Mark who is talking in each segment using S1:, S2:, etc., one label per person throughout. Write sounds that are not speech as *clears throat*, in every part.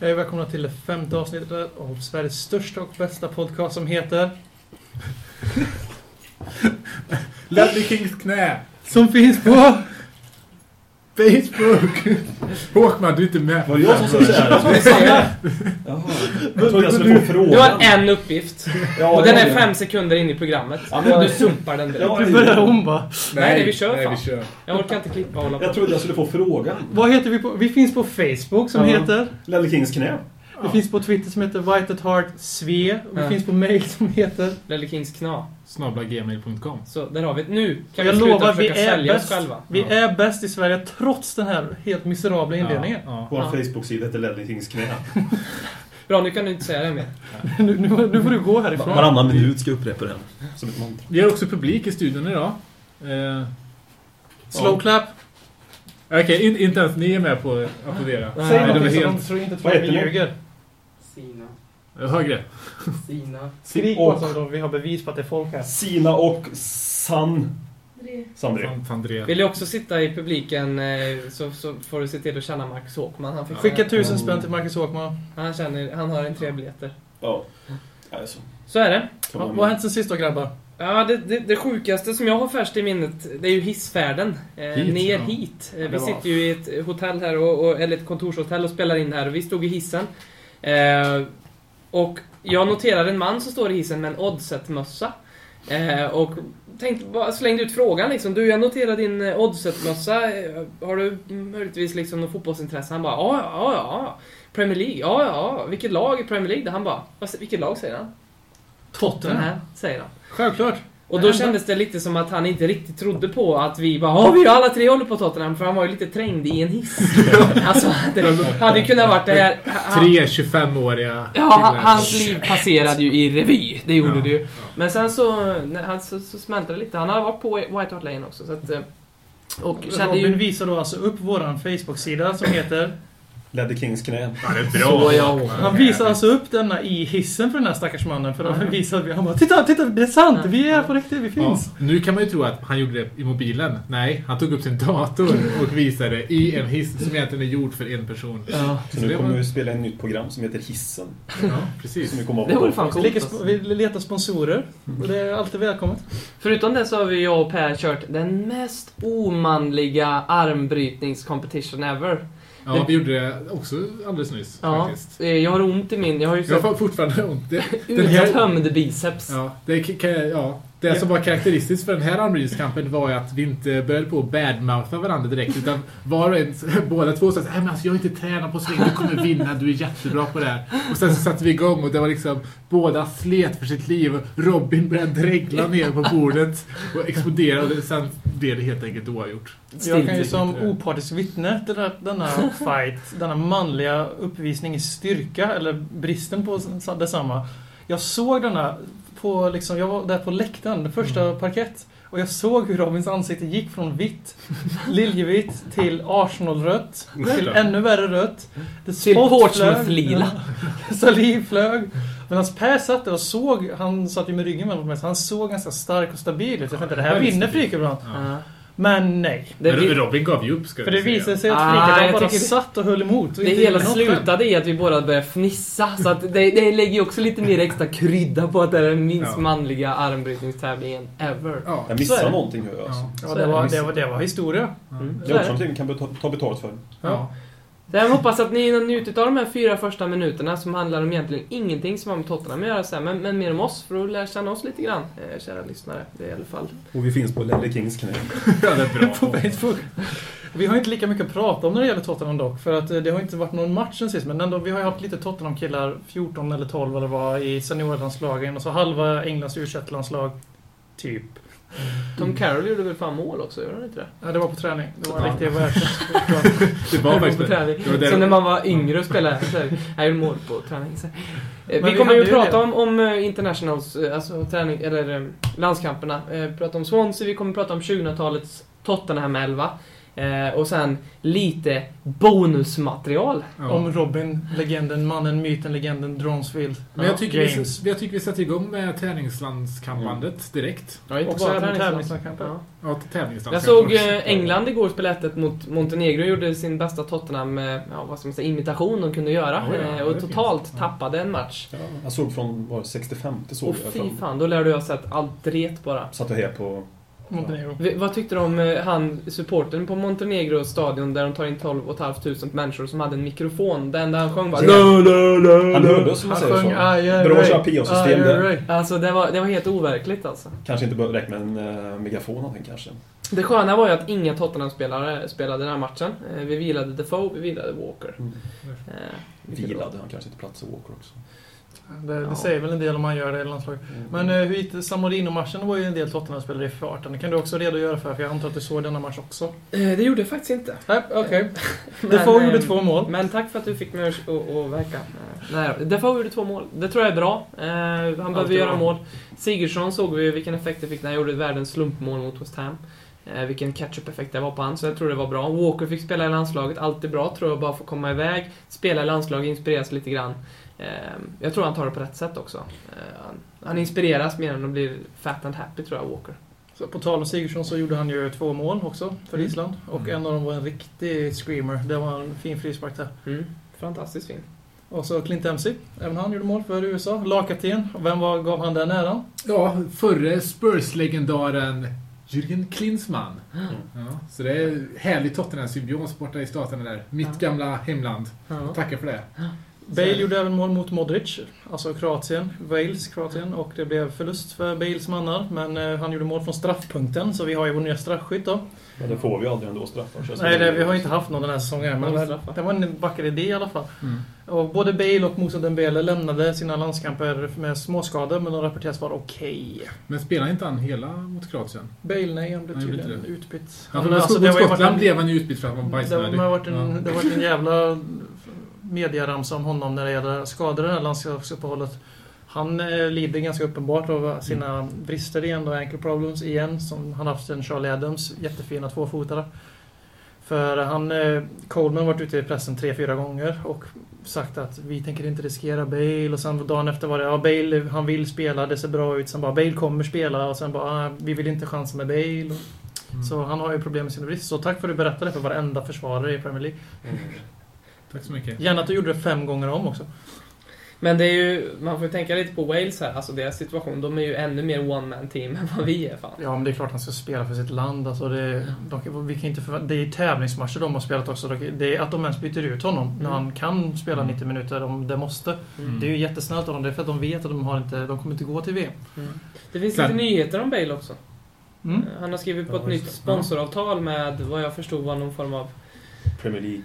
S1: Hej välkomna till det femte avsnittet av Sveriges största och bästa podcast som heter...
S2: Ledley Kings knä!
S1: Som finns på...
S2: Facebook! Håkman, du är inte med.
S3: Var det jag som skulle säga det? Jaha. Jag trodde jag skulle få
S4: Du har
S3: frågan.
S4: *laughs* en uppgift.
S3: Ja,
S4: Och
S3: det
S4: den
S3: var det.
S4: är fem sekunder in i programmet.
S3: Ja, men jag-
S4: Du sumpar den direkt.
S3: Ja.
S1: Du börjar om va?
S4: Nej, nej, vi kör
S2: nej,
S4: fan.
S2: vi kör.
S4: Jag orkar inte klippa och hålla på.
S3: Jag trodde jag skulle få frågan.
S1: Vad heter vi på? Vi finns på Facebook som
S3: Ja.
S1: heter...
S3: Ledley Kings knä.
S1: Vi finns på Twitter som heter White at Heart Sve. Och vi
S4: Ja.
S1: finns på mail som heter...
S4: Lelle Kings kna.
S2: Snabla gmail.com.
S4: Så där har vi det. Nu kan vi
S1: jag
S4: sluta
S1: lovar, vi
S4: försöka
S1: är
S4: sälja oss
S1: bäst.
S4: själva.
S1: Vi
S2: Ja.
S1: är bäst i Sverige trots den här helt miserabla inledningen. *laughs*
S2: Ja, ja.
S3: Vår
S4: Ja.
S3: Facebook-sida heter Ledley Kings knä.
S4: Bra, nu kan du inte säga det mer.
S1: Nu, nu, nu får du gå härifrån.
S3: Varannan minut ska jag upprepa den. Som ett mantra.
S2: Vi har också publik i studion idag. Eh,
S1: Slow clap.
S2: Okej, in, inte ens ni är med på att applådera.
S4: Nej,
S1: Säg
S4: de är
S1: någonting som de
S2: helt
S1: tror inte tror
S3: Vad
S1: att vi
S3: heter ni?
S1: ljuger.
S4: Sina.
S2: högre.
S4: Sina.
S1: Skrik på
S3: Och
S1: oss om vi har bevis på att det är folk här.
S3: Sina och San... Sandre.
S2: Sant, André.
S4: Vill du också sitta i publiken eh, så, så får du se till att känna Marcus Håkman. Han fick
S1: Skicka tusen spänn till Marcus Håkman.
S4: Han, känner, han har en tre biljetter.
S3: Ja. Alltså,
S4: Så är det.
S1: Va- Vad har hänt sen sist då grabbar?
S4: Ja, det, det, det sjukaste som jag har färskt i minnet, det är ju hissfärden. Eh,
S2: Hit,
S4: ner
S2: ja.
S4: hit. Eh,
S1: Ja, det
S4: vi
S1: var-
S4: sitter ju i ett hotell här, och, och, eller ett kontorshotell och spelar in här. Och vi stod i hissen. Eh, och jag noterar en man som står i hissen med en Oddset-mössa. Eh, och tänkte bara, slängde ut frågan liksom. Du, jag noterar din eh, Oddset-mössa. Eh, Har du möjligtvis liksom något fotbollsintresse? Han bara, ja, ja, ja. Premier League, ja, ja. Vilket lag i Premier League? Han bara, "Vad- vilket lag säger han? Den
S1: Tottenham.
S4: här, säger han.
S1: Självklart.
S4: Och då kändes det lite som att han inte riktigt trodde på att vi bara "Ja, vi alla tre håller på Tottenham” för han var ju lite trängd i en hiss.
S2: *laughs*
S4: alltså, det hade ju kunnat varit det här... Han,
S2: Tre 25-åriga
S4: ja, han- hans liv passerade ju i revy, det gjorde
S2: Ja,
S4: det ju. Men sen så, när han så, så smälte det lite. Han hade varit på White Hart Lane också så att... eh, Och kände
S1: Robin
S4: ju...
S1: visar då alltså upp våran Facebook-sida som heter...
S3: Ledley Kings knä.
S2: Ja, det är
S4: Så
S2: bra.
S4: jag-
S1: Han visar alltså upp denna i hissen för den här stackars mannen för att visa att vi... Han bara titta, titta, det är sant! Vi är på riktigt, vi
S2: Ja,
S1: finns!
S2: nu kan man ju tro att han gjorde det i mobilen. Nej, han tog upp sin dator och visade i en hiss som egentligen är gjord för en person.
S1: Ja.
S3: Så nu kommer vi spela ett nytt program som heter Hissen.
S2: Ja, precis.
S3: Som vi kommer att
S4: Det
S3: ha
S4: vore
S3: på.
S4: fan
S1: Vi,
S4: coolt.
S1: leker,
S4: alltså.
S1: sp- vi letar sponsorer. Och det är alltid välkommet.
S4: Förutom det så har vi jag och Per kört den mest omanliga armbrytningscompetition ever.
S2: Ja, vi gjorde det också alldeles nyss
S4: Ja,
S2: faktiskt.
S4: eh, jag har ont i min... Jag har ju
S2: Jag
S4: så
S2: har fortfarande ont.
S1: *laughs*
S2: Det, den här,
S4: uttömd biceps.
S2: ja, det, k- kan jag- ja, det som var karaktäristiskt för den här armbrytningskampen var ju att vi inte började på att badmoutha varandra direkt. Utan var och en, *laughs* båda två sa att men alltså, jag har inte tränat på så länge, du kommer vinna, du är jättebra på det här. Och sen så satte vi igång och det var liksom båda slet för sitt liv. Robin började dregla ner på bordet och exploderade. Och sen blev det helt enkelt oavgjort.
S1: Jag kan ju som opartisk vittne till den- denna
S4: *laughs*
S1: fight, denna manliga uppvisning i styrka, eller bristen på s- detsamma. Jag såg denna på, liksom, jag var där på läktaren, första
S4: Mm.
S1: parkett. Och jag såg hur Robins ansikte gick från vitt, liljevitt, till Arsenal-rött, till ännu värre rött. Det
S4: Till
S1: spott flög, *laughs*
S4: Portsmouth-lila.
S1: ja, Saliv flög. Medan Per satt där och såg, han satt ju med ryggen vänd mot mig, så han såg ganska stark och stabil ut. Jag tänkte det här vinner Frykebrand.
S4: Ja.
S1: Men nej.
S4: Det,
S2: Men
S4: det,
S2: Robin gav ju upp ska
S1: För det
S2: vi säga.
S1: visade sig
S4: Ah,
S1: att Frikadell
S4: jag
S1: bara
S4: tycker det-
S1: satt och höll emot. Och inte
S4: det hela
S1: gjorde något
S4: slutade i att vi båda började fnissa. Så att det, det lägger ju också lite mer extra krydda på att det är den minst
S2: Ja.
S4: manliga armbrytningstävlingen ever.
S2: Ja.
S3: Jag
S1: Så är det.
S3: missar någonting hör jag. Alltså.
S2: Ja.
S1: fram. Ja, det, var, det, var, det var historia.
S4: Mm.
S3: Det är också någonting vi kan beta- ta betalt för.
S2: Ja.
S4: Så jag hoppas att ni njutit av de här fyra första minuterna som handlar om egentligen ingenting som har med Tottenham att göra sen, men, men mer om oss för att lära känna oss lite grann, eh, kära lyssnare. Det är i alla fall.
S3: Och vi finns på Ledley Kings knä.
S2: ja, det är
S1: *laughs* På
S2: bra.
S1: Facebook. Vi har inte lika mycket att prata om när det gäller Tottenham dock. För att eh, det har inte varit någon match sen sist. Men ändå, vi har ju haft lite Tottenham-killar, 14 eller 12 eller vad, i seniorlandslagen. Och så halva Englands u landslag Typ.
S4: Tom Carroll gjorde väl fan mål också, gjorde han inte det?
S1: Ja, det var på träning. Det var en
S2: Ja.
S1: riktig världs... *laughs*
S2: Det var faktiskt
S4: på
S2: det.
S4: träning.
S2: var det.
S4: Som när man var yngre och spelade. Så här, *laughs* jag gjorde mål på träning. Så. Eh,
S1: vi
S4: Vi kommer ju
S1: hade ju
S4: prata
S1: det.
S4: om, om eh, internationals, eh, alltså träning, eller eh, landskamperna. Eh, Prata om Swansea, vi kommer prata om 2000-talets Tottenham 11. Eh, och sen lite bonusmaterial.
S2: Ja.
S1: Om Robin, legenden, mannen, myten, legenden, Dronsfield.
S2: Men jag tycker, vi,
S1: James.
S2: s- jag tycker vi sätter igång med
S1: Mm.
S2: tävlingslandskampanjet direkt.
S4: Ja,
S1: inte bara tävlingslandskampen.
S4: Ja.
S2: Ja,
S4: Jag
S2: tävlingslandskamp
S4: såg
S2: först.
S4: eh, England igår spela 1 mot Montenegro gjorde sin bästa Tottenham, eh, ja, vad ska man säga, imitation de kunde göra.
S2: Oj, ja,
S4: eh,
S2: det
S4: och
S2: är
S4: totalt
S2: fint. Ja.
S4: tappade en match.
S3: Ja, jag såg från var det 65 till såg
S4: Och
S3: jag.
S4: fy
S3: Från,
S4: fan, då lär du ha sett allt ret bara.
S3: satt och hejade på...
S1: Montenegro.
S4: V- Vad tyckte du om eh, han, supporten på Montenegro stadion där de tar in 12 500 människor som hade en mikrofon? Den där han sjöng bara...
S3: Han hörde oss som man
S1: Han
S3: säger
S1: sjöng
S3: så.
S1: Aj, aj,
S3: Bra
S1: aj. Aj,
S3: KPI-system
S1: aj,
S3: där.
S1: aj.
S4: Alltså det var, det var helt overkligt alltså.
S3: Kanske inte behöver räkna med en eh, megafon någonting kanske.
S4: Det sköna var ju att inga Tottenham-spelare spelade den här matchen. Eh, Vi vilade Defoe, vi vilade Walker.
S3: Mm.
S4: Eh, vilket
S3: Vilade, han kanske inte plats i Walker också.
S1: Det,
S4: Ja. Mm.
S1: det säger väl en del om han gör det i landslaget. Men eh, hur gick det? Samorino-matchen var ju en del Tottenham-spelare i farten. Det kan du också redogöra för, för jag antar att du såg denna match också.
S4: var- Eh, Det gjorde jag faktiskt inte.
S1: Nej,
S4: *laughs*
S1: okej.
S4: Men,
S1: Defoe gjorde
S4: eh,
S1: två mål.
S4: Men tack för att du fick mig att- att att verka. Eh, Nej, då. Defoe gjorde två mål. Det tror jag är bra. Eh, Han behöver
S1: Alltid
S4: göra
S1: bra.
S4: mål. Sigurdsson såg vi vilken effekt det fick när han gjorde världens slumpmål mot West Ham. Eh, Vilken catch-up-effekt det var på han, så jag tror det var bra. Walker fick spela i landslaget, alltid bra tror jag, bara för att komma iväg. Spela i landslaget, inspireras lite grann. Eh, Jag tror han tar det på rätt sätt också. Eh, han- Han inspireras mer än att bli fat and happy, tror jag, Walker.
S1: Så på tal om Sigurdsson så gjorde han ju två mål också för
S4: Mm.
S1: Island. Och
S2: Mm.
S1: en av dem var en riktig screamer. Det var en fin frispark där.
S4: Mm. Fantastiskt fin.
S1: Och så Clint Dempsey. Även han gjorde mål för USA. Lagkapten. Och Vem var, gav han den äran?
S2: Ja, förre Spurs-legendaren Jürgen Klinsmann.
S1: Mm.
S2: Ja, så det är härlig Tottenham-symbios borta i staterna där. Mitt
S4: Ja.
S2: gamla hemland.
S4: Ja.
S2: Tackar för det.
S1: Bale
S2: Så-
S1: gjorde även mål mot Modric, alltså Kroatien, Wales, Kroatien, och det blev förlust för Bales mannar. Men eh, han gjorde mål från straffpunkten, så vi har ju vår nya straffskytt då.
S3: Men det får vi aldrig ändå straffar. så jag
S1: Nej, det,
S3: skulle-
S1: vi har inte haft någon den här säsongen, men
S4: Någon straffar.
S1: det var en vacker idé i alla fall. Och både Bale och Moussa Dembele lämnade sina landskamper med småskador, men de rapporteras vara okej.
S2: Men spelar inte han hela mot Kroatien?
S1: Bale, nej, han blev
S2: Nej, det blev
S1: tydligen
S2: inte
S1: utbytt.
S2: Ja, för alltså,
S1: det
S2: mot
S1: har ju
S2: Skottland
S1: varit en-
S2: blev han ju utbytt för att han var
S1: Det har
S2: bajsnödig.
S1: det har varit en,
S2: Ja.
S1: det har varit en jävla medieramsa om honom när det gäller skador i det här landslagsuppehållet. Han eh, lider ganska uppenbart av
S2: Mm.
S1: sina brister igen, då, ankle problems igen, som han haft sen Charlie Adams, jättefina tvåfotare. För han, eh, Coleman har varit ute i pressen tre, fyra gånger och sagt att vi tänker inte riskera Bale och sen dagen efter var det ja Bale, han vill spela, det ser bra ut. Sen bara Bale kommer spela och sen bara ah, vi vill inte chansa med Bale. Och,
S2: Mm.
S1: så han har ju problem med sina brister. Så tack för att du berättade för varenda försvarare i Premier League.
S3: Mm.
S2: Tack så mycket.
S1: Gärna att du gjorde det fem gånger om också.
S4: Men det är ju, man får ju tänka lite på Wales här, alltså deras situation. De är ju ännu mer one man team än vad vi är fan.
S1: Ja, men det är klart han ska spela för sitt land. Alltså det, de, vi kan inte förvä- det är tävlingsmatcher de har spelat också. De- Det är att de ens byter ut honom när
S4: Mm.
S1: han kan spela 90 minuter om det måste.
S2: Mm.
S1: Det är ju jättesnällt av dem. Det är för att de vet att de, har inte, de kommer inte gå till VM.
S4: Det finns
S2: Sen-
S4: lite nyheter om Bale också. Eh,
S1: Mm.
S4: Han har skrivit på
S3: Ja,
S4: ett
S3: just
S4: nytt
S3: det.
S4: sponsoravtal med, vad jag förstod var någon form av...
S3: Premier League.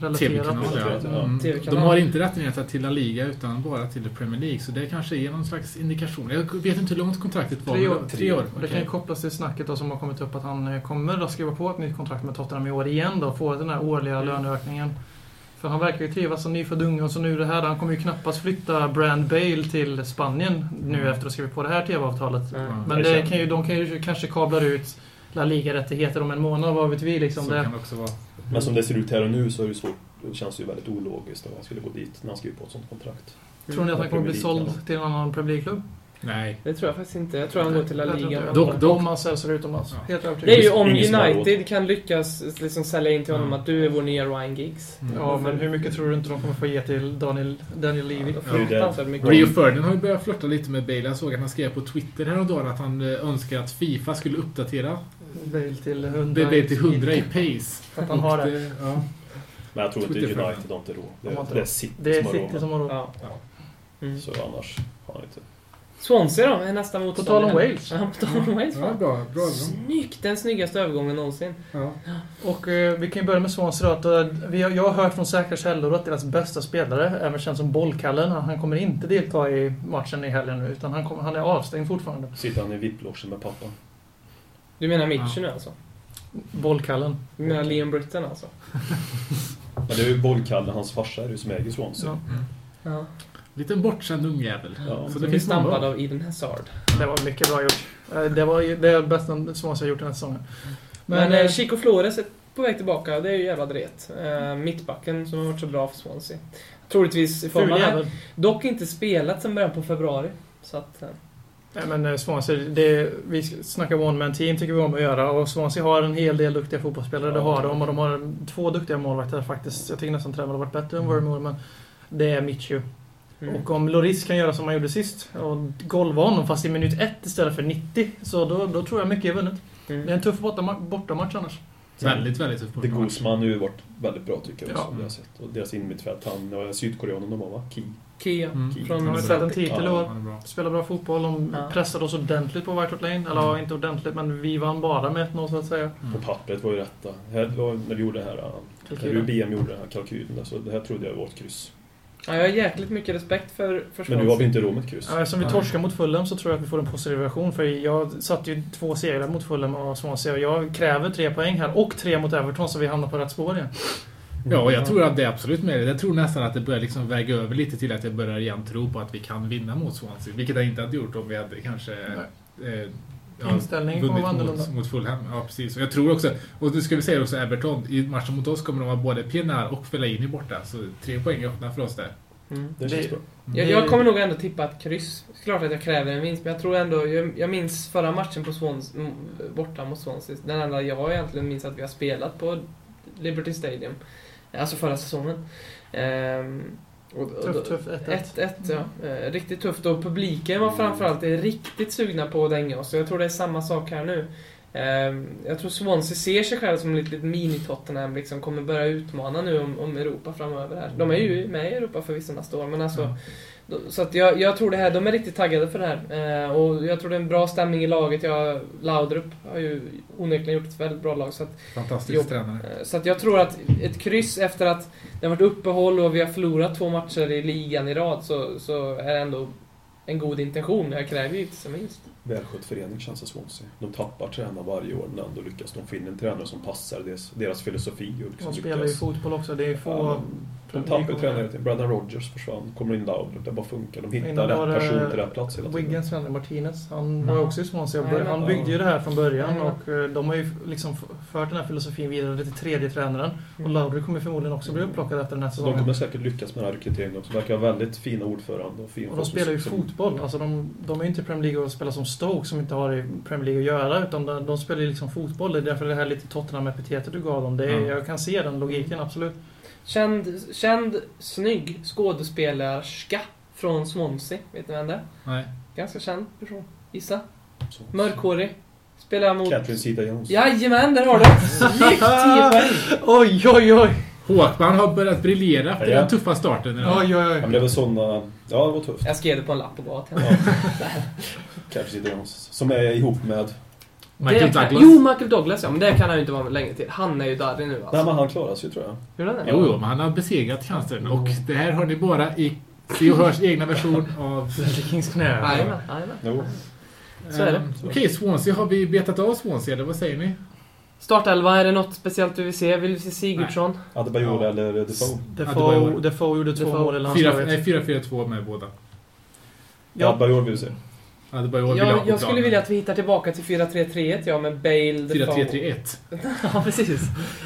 S1: Relaterat.
S2: TV-kanal.
S3: ja.
S2: Ja. Mm. De
S4: TV-kanal.
S2: har inte rättigheter till La Liga utan bara till Premier League. Så det kanske är någon slags indikation. Jag vet inte hur långt kontraktet var.
S1: Tre år.
S2: men det var- Tre år.
S1: Det
S2: okej.
S1: kan ju kopplas till snacket då, som har kommit upp att han eh, kommer att skriva på ett nytt kontrakt med Tottenham i år igen då, och få den här årliga
S4: Mm.
S1: löneökningen. För han verkar ju trivas som nyfödd unge och så nu det här, han kommer ju knappast flytta Brand Bale till Spanien nu
S2: Mm.
S1: efter att ha skrivit på det här TV-avtalet.
S4: Ja.
S1: Men det kan ju, de kan ju kanske kabla ut La Liga-rättigheter om en månad, vad vet vi liksom.
S2: Så
S1: Det.
S2: kan det också vara.
S3: Men
S1: Mm.
S3: som det ser ut här och nu så är det svårt. Det känns ju väldigt ologiskt att han skulle gå dit när han skriver på ett sånt kontrakt.
S1: Tror ni att han kommer bli
S3: Premier League,
S1: såld till en annan Premier League-klubb?
S2: Nej.
S4: Det tror jag faktiskt inte. Jag tror han går till La
S1: Jag tror inte
S4: Liga.
S1: det.
S2: Dock- dock-
S1: Om han säljs utomlands.
S2: Ja.
S1: Helt
S4: Det
S1: övertygad.
S4: är ju om
S3: Ingen som har
S4: United
S3: råd.
S4: kan lyckas liksom sälja in till honom
S2: Mm.
S4: att du är vår nya Ryan Giggs.
S2: Mm.
S1: Ja, men hur mycket tror du inte de kommer få ge till Daniel, Daniel Levy?
S4: Ja,
S2: Mm. Ja.
S4: fruktansvärt mycket.
S2: Rio Ferdinand har ju börjat flirta lite med Bale. Jag såg att han skrev på Twitter häromdagen att han eh, önskar att Fifa skulle uppdatera
S1: Bale till 100.
S2: Bale till 100 i pace.
S1: För att han har
S2: Och
S1: det.
S2: Ja.
S3: Men jag tror inte
S2: 75.
S3: United har inte råd. Det,
S1: De har inte
S3: det är
S1: råd.
S3: City
S1: Det är
S3: som har råd.
S1: City
S3: med
S1: som har råd.
S4: Ja. Mm.
S3: det. Så annars har han inte.
S4: Swansea då, är nästa
S1: På
S4: motståndare.
S1: tal om Wales. Mm.
S4: Ja, på tal om Wales.
S2: Ja,
S4: Fan.
S2: bra. bra, bra.
S4: Snyggt! Den snyggaste övergången någonsin.
S2: Ja.
S1: Och eh, vi kan ju börja med Swansea då. Att, eh, vi har, jag har hört från säkra källor att deras bästa spelare, även känd som bollkallen, han, han kommer inte delta i matchen i helgen nu. Utan han, kommer- han är avstängd fortfarande.
S3: Sitter han i vip med pappa.
S4: Du menar Mitch nu alltså?
S1: Bollkallen.
S4: Du menar Leon Britton alltså?
S3: Men det är ju bollkallen, hans farsa är det ju som äger Swansea.
S1: Ja.
S4: Ja.
S2: Liten bortskämd ungjävel.
S3: Ja.
S2: Så
S4: Det
S2: det
S4: blir
S2: finns många.
S4: stampad av Eden Hazard.
S1: Det var mycket bra gjort. Eh, Det var ju- det är bästa Swansea har gjort den här säsongen.
S4: Men,
S1: Men,
S4: eh,
S1: eh,
S4: Chico Flores, ett på väg tillbaka och det är ju jävla dret. Eh, mittbacken som har varit så bra för Swansea. Troligtvis i
S1: Ful
S4: form av
S1: jävel.
S4: Dock inte spelat sedan början på februari. Så att, eh,
S1: Nej men eh, Swansea, det, vi snackar one man team tycker vi om att göra och Swansea har en hel del duktiga fotbollsspelare, det har de. Och de har två duktiga målvakter faktiskt. Jag tycker nästan Tremel har varit bättre än Wormore, men det är Mitchu.
S4: mm.
S1: Och om Loris kan göra som han gjorde sist och golva honom fast i minut 1 istället för 90, så då, då tror jag mycket är vunnet.
S4: mm.
S1: Det är en tuff bortama- bortamatch annars.
S2: Väldigt, väldigt tuff
S3: De
S2: match.
S3: Guzman har ju varit väldigt bra tycker jag också.
S1: Ja.
S3: Det har jag sett. Och deras innermittfält, han, det var sydkoreanen de var va? Ki.
S4: Kia.
S2: Mm.
S3: Ki.
S4: Från-
S1: De har
S2: Ja,
S1: sett en titel i
S3: Ja.
S1: år.
S2: Han är bra.
S1: Spelar bra fotboll, de
S4: Ja.
S1: pressade oss ordentligt på White Hart Lane. Eller ja, inte ordentligt, men vi vann bara med 1-0 så att säga.
S2: Mm.
S3: På pappret var ju rätta. Här, det var när vi gjorde det här, äh, när
S1: Kalkylen.
S3: UBM gjorde den här kalkylen, där, så det här trodde jag var ett kryss.
S4: Ja, jag har jäkligt mycket respekt för, för
S3: Men nu har vi inte råd med ett kryss.
S1: Ja, eftersom vi
S2: Ja.
S1: torskar mot Fulham så tror jag att vi får en positiv reaktion. För jag satte ju två segrar mot Fulham och Swansea och jag kräver tre poäng här. Och tre mot Everton så vi hamnar på rätt spår igen.
S2: Ja, och jag
S4: Mm.
S2: tror att det är absolut med det. Jag tror nästan att det börjar liksom väga över lite till att jag börjar igen tro på att vi kan vinna mot Swansea. Vilket jag inte hade gjort om vi hade kanske... Eh, ja,
S1: Inställningen kommer
S2: vunnit
S1: vara annorlunda.
S2: mot, mot Fulham. Ja, precis. Och jag tror också... Och nu ska vi säga också Everton. I matchen mot oss kommer de ha både Pienaar och Fellaini borta. Så tre poäng är öppna för oss där.
S4: Mm.
S3: Det känns
S1: Det-
S3: bra.
S4: Jag, jag kommer nog ändå tippa ett kryss. Klart att jag kräver en vinst, men jag tror ändå... Jag, jag minns förra matchen på Swans, m- borta mot Swansea. Den enda jag egentligen minns att vi har spelat på Liberty Stadium. Alltså förra säsongen. Ehm, och, och,
S1: Tufft, tufft, 1-1.
S4: 1-1. Ja. Eh, Riktigt tufft. Och publiken var framförallt riktigt sugna på att dänga oss. Så jag tror det är samma sak här nu. Ehm, Jag tror Swansea ser sig själv som ett litet mini-Tottenham. Liksom kommer börja utmana nu om, om Europa framöver. Här. De är ju med i Europa förvisso nästa år, men alltså... de- Så att jag, jag tror det här, de är riktigt taggade för det här. Eh, och jag tror det är en bra stämning i laget. Jag, Laudrup har ju onekligen gjort ett väldigt bra lag. Så att
S2: Fantastisk
S4: Jo.
S2: tränare.
S4: Eh, Så att jag tror att ett kryss efter att det har varit uppehåll och vi har förlorat två matcher i ligan i rad så, så är det ändå en god intention. Jag kräver ju inte som minst.
S3: Välskött förening känns det Swansea. De tappar tränare varje år, men ändå lyckas de få in en tränare som passar deras, deras filosofi. Och liksom
S1: De spelar ju
S3: lyckas.
S1: fotboll också. Det är
S3: Ja,
S1: få...
S3: De tappar ju tränare. till- Brendan Rogers försvann, kommer in Laudrup, det bara funkar. De hittar
S1: Innan var
S3: rätt
S1: det
S3: person till rätt plats hela tiden.
S1: Wiggins tränare Martinez, han
S4: Mm.
S1: var ju också i Swansea. och
S4: Ja,
S1: började-
S4: men-
S1: Han byggde ju det här från början
S4: Ja.
S1: och eh, de har ju liksom f- fört den här filosofin vidare till tredje tränaren. Och
S4: Mm.
S1: Laudrup kommer förmodligen också bli upplockad efter den här
S3: Så de
S1: säsongen.
S3: kommer säkert lyckas med den här rekryteringen också. De verkar ha väldigt fina ordförande och fina
S1: Och de spelar ju fotboll. Alltså de, de är ju inte i Premier League och spelar som Stoke som inte har i Premier League att göra. Utan de, de spelar ju liksom fotboll. Det är därför det här lite Tottenham-epitetet du gav dem. Det är,
S2: Ja.
S1: Jag kan se den logiken, absolut.
S4: Känd, känd snygg skådespelerska från Swansea. Vet ni vem det är?
S2: Nej.
S4: Ganska känd person. Gissa.
S3: Så.
S4: Mörkhårig. Spelar mot...
S3: Catherine Zeta Jones.
S4: Jajamän, där har du det! Snyggt! 10 poäng!
S1: Oj, oj, oj!
S2: Håkman har börjat briljera efter
S3: Ja.
S2: den tuffa starten. idag.
S1: Oj,
S3: Ja,
S1: oj,
S3: men
S1: oj.
S3: det var såna... Ja, det var tufft.
S4: Jag skrev det på en lapp och gav till
S3: Ja. Catherine Zeta Jones. Som är ihop med...
S2: Michael
S4: Det kan-
S2: Douglas.
S4: Jo,
S2: Jo,
S4: Michael Douglas ja, men det kan han ju inte vara med länge till. Han är ju darrig nu alltså.
S3: Nej, men han klarar sig tror jag.
S4: Hur är det?
S2: jo, men han har besegrat cancern. Och det här har ni bara i Se och Hörs egna version av...
S1: Kings knä.
S4: Jajamän, jajamän.
S3: Jo.
S4: Så är det.
S2: Ehm, Okej, Swansea. Har vi betat av Swansea, eller vad säger ni?
S4: Startelva, är det något speciellt du vill se? Vill du se Sigurdsson?
S3: Adebayor
S2: Ja.
S3: eller Defoe.
S2: Adebayor.
S1: Defoe, Defoe gjorde två
S4: Defoe.
S1: mål i
S2: Fyra-
S1: landslaget.
S2: nej, 4-4-2 med båda.
S1: Ja.
S3: Adebayor vill vi se.
S2: Ja, det bara jag,
S4: Jag, jag skulle vilja att vi hittar tillbaka till 4-3-3-1 ja, med Bale, Defoe.
S2: 4-3-3-1.
S4: ja, precis.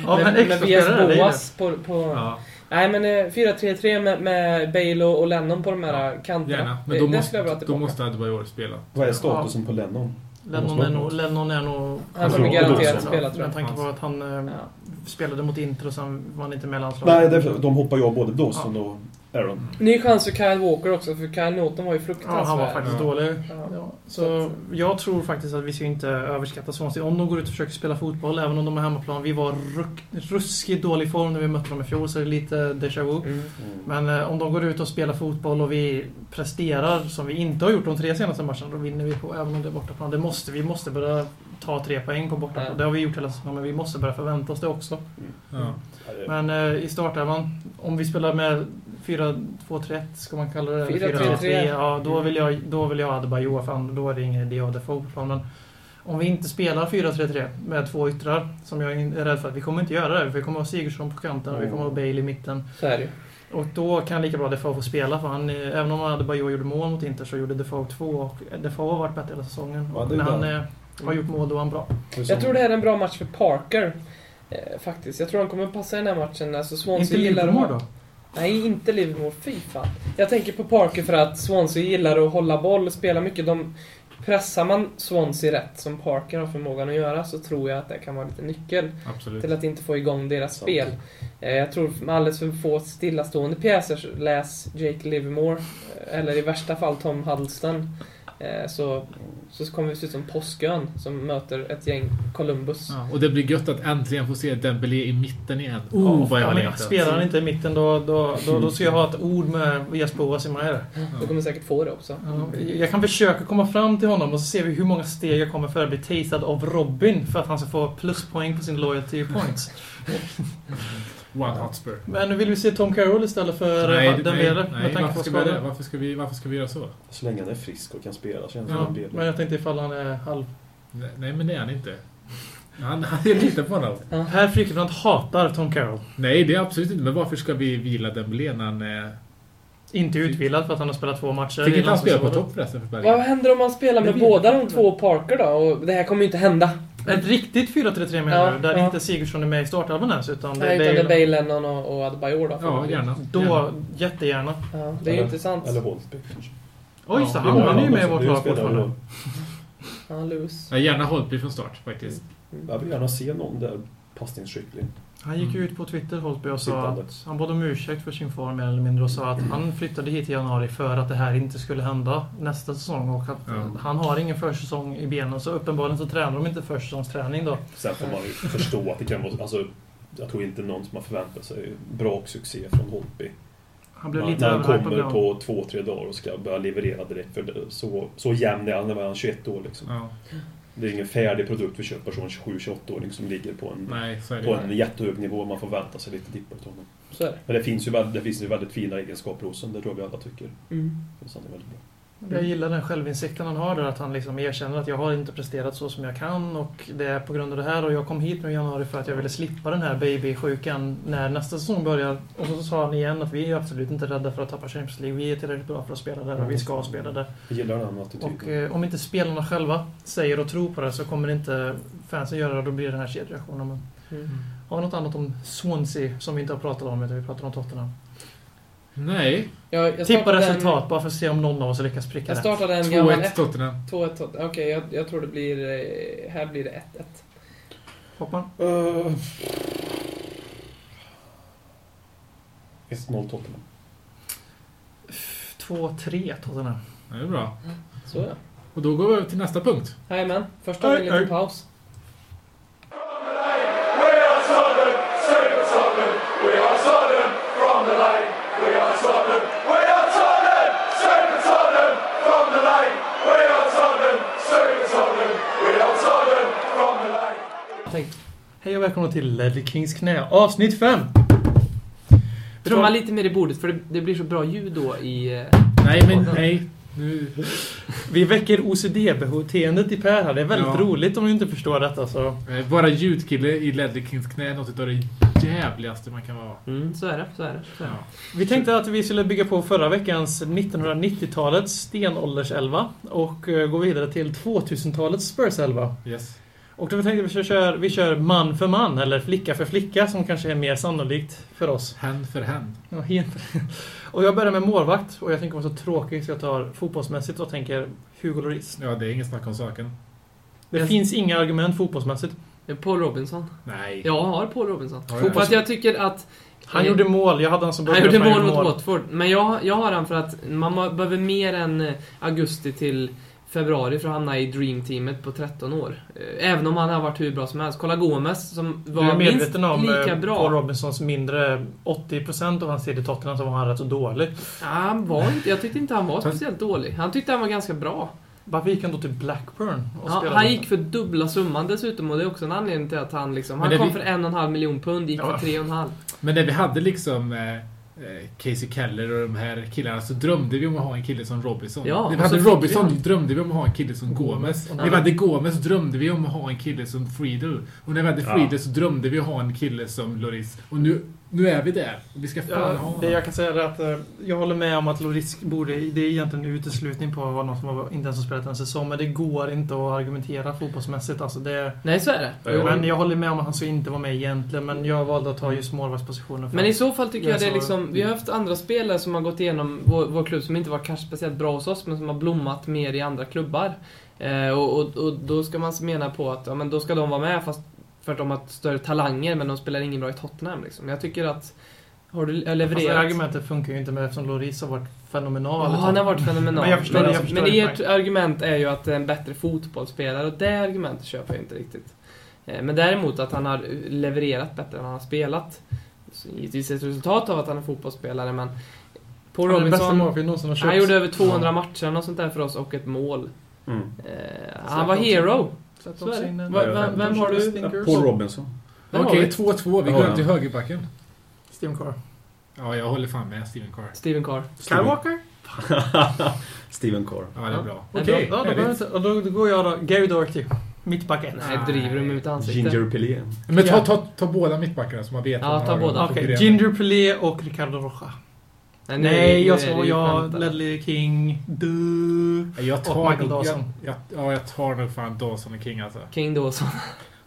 S1: Ja, men
S4: med
S1: extra
S4: med VS
S1: spelare, det är ju
S4: Boas på... på
S2: Ja,
S4: Nej, men eh, 4-3-3 med, med Bale och, och Lennon på de här kanterna.
S2: gärna.
S4: Det-
S2: Men då
S4: det skulle jag vilja ha
S2: måste, då
S4: tillbaka.
S2: måste Adebayor spela.
S3: Vad är statusen på Lennon?
S1: det. Lennon är nog... Lennon är nog
S4: Han
S2: kommer
S4: garanterat spela, tror jag.
S1: Med tanke på att han eh,
S4: Ja.
S1: spelade mot Inter och sen var han inte med i landslaget.
S3: Nej, det är, de hoppar ju av både Dawson och Aaron.
S4: Ny chans för Kyle Walker också, för Kyle Norton var ju fruktansvärd.
S1: Ja, han var faktiskt
S2: Ja.
S1: dålig.
S4: Alltså, Ja.
S1: Ja,
S4: Så
S1: så jag tror faktiskt att vi ska inte överskatta Swansea. Om de går ut och försöker spela fotboll, även om de är hemmaplan. Vi var ruck, ruskigt dålig form när vi mötte dem i fjol, så det är lite déjà vu.
S4: Mm.
S1: Men eh, om de går ut och spelar fotboll och vi presterar som vi inte har gjort de tre senaste matcherna, då vinner vi på även om det är bortaplan. Det måste, vi måste börja ta tre poäng på
S4: Ja.
S1: bortaplan. Det har vi gjort hela säsongen, men vi måste börja förvänta oss det också.
S2: Ja.
S1: Men eh, i startelvan, om vi spelar med 4-2-3-1, ska man kalla det?
S4: 4-3-3.
S1: 4-3-3, Ja, då vill jag, då vill jag Adebayor, för an- då är det ingen idé att ha Defoe på plan. Men om vi inte spelar 4-3-3 med två yttrar, som jag är rädd för att vi kommer inte göra det, för vi kommer ha Sigurdsson på kanten och vi kommer ha Bale i mitten.
S4: Så är det ju.
S1: Och då kan lika bra Defoe få spela, för han, eh, även om Adebayor gjorde mål mot Inter så gjorde Defoe två och Defoe har varit bättre hela säsongen.
S3: Ja,
S1: Och
S3: det är
S1: när han
S3: bra.
S1: eh, har gjort mål, då är han bra.
S4: Jag tror det här är en bra match för Parker. Eh, faktiskt. Jag tror han kommer passa i den här matchen. Alltså
S1: Inte
S4: Swansea gillar
S1: Livermore
S4: att...
S1: då?
S4: Nej, inte Livermore. Fy fan. Jag tänker på Parker för att Swansea gillar att hålla boll, spela mycket. De pressar man Swansea rätt, som Parker har förmågan att göra, så tror jag att det kan vara lite nyckel
S2: Absolut.
S4: till att inte få igång deras spel. Eh, Jag tror med alldeles för få stillastående pjäser, läs Jake Livermore, eh, eller i värsta fall Tom Huddleston, eh, så, så kommer vi se ut som Påskön som möter ett gäng Columbus.
S2: Ja, och det blir gött att äntligen få se Dembélé i mitten igen.
S1: Ja,
S2: Oh, vad jag
S1: fan,
S2: har
S1: men
S2: längtat.
S1: Spelar han inte i mitten då, då, då, då ska jag ha ett ord med Jesper Oasimare.
S4: Du kommer säkert få det också.
S1: Ja, Jag kan försöka komma fram till honom och så ser vi hur många steg jag kommer för att bli tasad av Robin för att han ska få pluspoäng på sin loyalty points.
S2: One Hotspur.
S1: Men nu vill vi se Tom Carroll istället för
S2: Nej,
S1: den
S2: nej,
S1: med
S2: nej,
S1: tanke på
S2: varför, ska vi, göra det?
S1: skador.
S2: varför, ska vi, varför ska vi göra så?
S3: Så länge han är frisk och kan spela känns det
S1: Ja,
S3: som en
S1: men jag tänkte ifall han är halv...
S2: Nej, nej, men det är han inte. Han, han, jag litar på honom.
S1: Per Frykebrant hatar Tom Carroll.
S2: Nej, det är absolut inte. Men varför ska vi vila Dembélé när han... eh,
S1: Inte utvilad för att han har spelat två matcher.
S2: Fick inte
S1: innan
S2: han spela på
S1: säsongen.
S2: topp förresten för
S4: Vad
S2: Belgien?
S4: händer om man spelar med
S1: Det vet
S4: båda
S1: jag
S4: de
S1: inte.
S4: två Parker då? Och det här kommer ju inte hända.
S1: Ett riktigt 4-3-3 menar
S4: Ja,
S1: du? Där
S4: ja.
S1: inte Sigurdsson är med i startelvan ens, utan det
S4: Nej, utan det är
S1: är Bale.
S4: Bale, Lennon och, och Adebayor då.
S2: Ja, gärna.
S1: Då,
S2: gärna.
S1: jättegärna.
S4: Ja, det är ju
S3: Eller-
S4: intressant.
S3: Eller Holtby kanske.
S1: Oj,
S2: Ja,
S1: så
S2: det
S1: han,
S2: var
S1: han är ju
S3: han
S1: med i
S3: också.
S1: vårt
S3: Det
S1: lag
S3: spelar
S1: fortfarande.
S3: roll.
S4: Ja, Lewis.
S2: Ja, gärna Holtby från start faktiskt.
S3: Jag vill gärna se någon där passningsskicklig.
S1: Han gick ju ut på Twitter, Holtby, och sa
S3: Sittande.
S1: att han bad om ursäkt för sin form mer eller mindre och sa att han flyttade hit i januari för att det här inte skulle hända nästa säsong och att
S2: Ja.
S1: han har ingen försäsong i benen så uppenbarligen så tränar de inte försäsongsträning då.
S3: Sen får man
S1: *laughs*
S3: ju förstå att det kan vara... Alltså, jag tror inte någon som har förväntat sig bra succé från Holtby.
S1: Han blev
S3: Man,
S1: lite
S3: man
S1: överhypad.
S3: kommer
S1: blev han.
S3: på två, tre dagar och ska börja leverera direkt. För det, så, så jämn är han när han är 21 år. Liksom.
S2: Ja,
S3: Det är ingen färdig produkt vi köper från en 27-28-åring som ligger på en,
S2: nej, så är det
S3: på
S2: ju.
S3: en jättehög nivå. Man får vänta sig lite dippar utav honom.
S4: Så är det.
S3: Men det finns ju väldigt, det finns ju väldigt fina egenskaper hos honom. Det tror jag vi alla tycker.
S4: Mm.
S3: Jag tycker han är väldigt bra.
S1: Jag gillar den självinsikten han har där, att han liksom erkänner att jag har inte presterat så som jag kan och det är på grund av det här och jag kom hit nu i januari för att jag ville slippa den här babysjukan när nästa säsong börjar. Och så sa han igen att vi är absolut inte rädda för att tappa Champions League. Vi är tillräckligt bra för att spela där och vi
S4: Mm.
S1: ska spela där.
S4: Typ.
S3: Jag gillar den attityden.
S1: Och eh, om inte spelarna själva säger och tror på det så kommer inte fansen göra det och då blir det den här kedjereaktionen. Men
S4: Mm.
S1: har vi något annat om Swansea som vi inte har pratat om utan vi pratar om Tottenham?
S2: Nej,
S4: Jag, jag
S1: Tippa
S4: startade en-
S1: resultat bara för att se om någon av oss lyckas pricka
S4: Jag
S1: rätt.
S4: startade en gammal
S2: 2-1
S4: ett-
S2: Tottenham.
S4: 2-1. Tot- Okej, jag, jag tror det blir... eh, Här blir det 1-1.
S1: Hoppman?
S3: Eh, 1-0 Tottenham.
S1: 2-3 Tottenham.
S2: Ja, det är bra.
S4: Så ja.
S2: Och då går vi över till nästa punkt.
S4: Jajamän. Först har vi en
S1: Oj,
S4: liten
S1: oj.
S4: paus. Tänk,
S1: Hej och välkomna till Ledley Kings knä, avsnitt 5!
S4: trumma lite mer i bordet för det, det blir så bra ljud då i... eh,
S2: Nej, men nej. Nu,
S1: Vi väcker OCD-beteendet i Per här. Det är väldigt
S2: Ja.
S1: roligt om du inte förstår detta. Så.
S2: eh, vara ljudkille i Ledley Kings knä är något av det jävligaste man kan vara.
S4: Mm, så är det. Så är det. Så är det.
S2: Ja.
S1: Vi tänkte att vi skulle bygga på förra veckans 1990-talets stenålderselva och eh, gå vidare till 2000-talets Spurs-elva.
S2: Yes.
S1: Och då tänkte vi att vi kör, vi kör man för man, eller flicka för flicka, som kanske är mer sannolikt för oss.
S2: Hand för hand.
S1: Ja, helt. *laughs* Och jag börjar med målvakt, och jag tänker vara så tråkig så jag tar fotbollsmässigt och tänker Hugo Lloris.
S2: Ja, det är inget snack om saken.
S1: Det
S4: Jag-
S1: finns inga argument fotbollsmässigt.
S4: Det är Paul Robinson.
S2: Nej.
S4: Jag har Paul Robinson.
S2: Har du
S4: För
S2: det?
S4: att jag tycker att...
S1: Han
S4: eh,
S1: gjorde mål. Jag hade alltså han som
S4: Han
S1: började,
S4: gjorde
S1: för
S4: mål mot Watford, men jag, jag har han för att man må- behöver mer än eh, augusti till februari för att hamna i Dream-teamet på 13 år. Eh, Även om han har varit hur bra som helst. Kolla Gomes som
S1: Du är
S4: var minst
S1: medveten om
S4: lika
S1: eh, Paul
S4: bra.
S1: Robinsons mindre 80% av hans tid i Tottenham så var han rätt så dålig.
S4: Ja, han var inte, jag tyckte inte han var
S2: Han-
S4: speciellt dålig. Han tyckte han var ganska bra.
S1: Varför gick han då till Blackburn och
S4: Ja,
S1: spelade?
S4: han gick för dubbla summan dessutom och det är också en anledning till att han liksom...
S2: Men det
S4: Han kom
S2: vi-
S4: för en och en halv miljon pund, gick för
S1: Ja.
S4: tre och en halv.
S2: Men när vi hade liksom eh, eh, Casey Keller och de här killarna så drömde vi om att ha en kille som Robinson.
S4: Ja,
S2: när
S4: och
S2: vi hade
S4: så fick
S2: Robinson
S4: vi
S2: drömde vi om att ha en kille som Gomes.
S1: Ja.
S2: När vi hade Gomes drömde vi om att ha en kille som Friedel. Och när vi hade
S3: Ja.
S2: Friedel så drömde vi om att ha en kille som Loris. Och nu nu är vi där. Vi ska fan
S1: Ja,
S2: ha
S1: det
S2: det.
S1: jag kan säga är att eh, jag håller med om att Lorisk borde... Det är egentligen en uteslutning på att vara någon som har- inte ens har spelat en säsong, men det går inte att argumentera fotbollsmässigt. Alltså det,
S4: Nej, så är det.
S3: Ja, jo.
S1: men jag håller med om att han ska inte vara med egentligen, men jag valde att ta just målvaktspositionen. för
S4: Men i
S1: att-
S4: så fall tycker
S1: Jag
S4: jag det är
S1: sa-
S4: liksom, vi har haft andra spelare som har gått igenom vår, vår klubb som inte var kanske speciellt bra hos oss, men som har blommat mer i andra klubbar. Eh, och, och, och då ska man mena på att, ja men då ska de vara med fast för att de har större talanger, men de spelar ingen bra i Tottenham liksom. Jag tycker att, har du har
S1: Fast det
S4: levererat?
S1: argumentet funkar ju inte med eftersom Loris har varit fenomenal.
S4: Ja, han har varit fenomenal.
S1: Men jag förstår
S4: men,
S1: det, jag förstår
S4: men
S1: det.
S4: ert argument är ju att det är en bättre fotbollsspelare och det argumentet köper jag inte riktigt. Eh, Men däremot att han har levererat bättre än han har spelat. Så Givetvis ett resultat av att han är fotbollsspelare, men Paul
S1: Han är den bästa
S4: Robinson,
S1: målvakten någonsin har köpts.
S4: han gjorde över 200 matcher och sånt där för oss och ett mål.
S3: Mm.
S4: Eh, han var hero. Så är det. Va- va- vem har du?
S3: Paul Robinson.
S4: Vem har
S2: Okej,
S4: vi?
S2: 2-2. Vi
S3: Ja,
S2: går
S3: ja.
S2: upp till högerbacken.
S1: Steven Carr.
S2: Ja, jag håller fan med Steven Carr.
S4: Steven Carr.
S1: Kyle Walker?
S3: *laughs* Steven Carr.
S2: Ja, det är bra.
S4: Ja,
S2: Okej,
S1: Ja, då, går det
S2: härligt.
S1: inte. Och då, då går jag då. Gary Doherty. Mittback 1.
S4: Nej, driver du med mitt ansikte?
S3: Ginger Pelé.
S2: Men ta,
S1: Ja.
S2: ta, ta båda mittbackarna som man vet.
S4: Ja,
S2: om man
S4: ta
S2: har
S4: båda.
S2: dem på
S1: Okej,
S2: grenen.
S1: Ginger Pelé och Ricardo Rocha.
S4: Nej, nu är det-
S1: Nej, jag
S4: nu är det
S1: sa
S4: ju
S1: jag.
S4: skämt, eller?
S1: Ledley King. Du.
S2: Jag
S1: Och
S2: tar
S1: Michael
S2: nog... Jag,
S1: Dawson.
S2: jag, ja, jag tar nog fan Dawson och King alltså.
S4: King Dawson.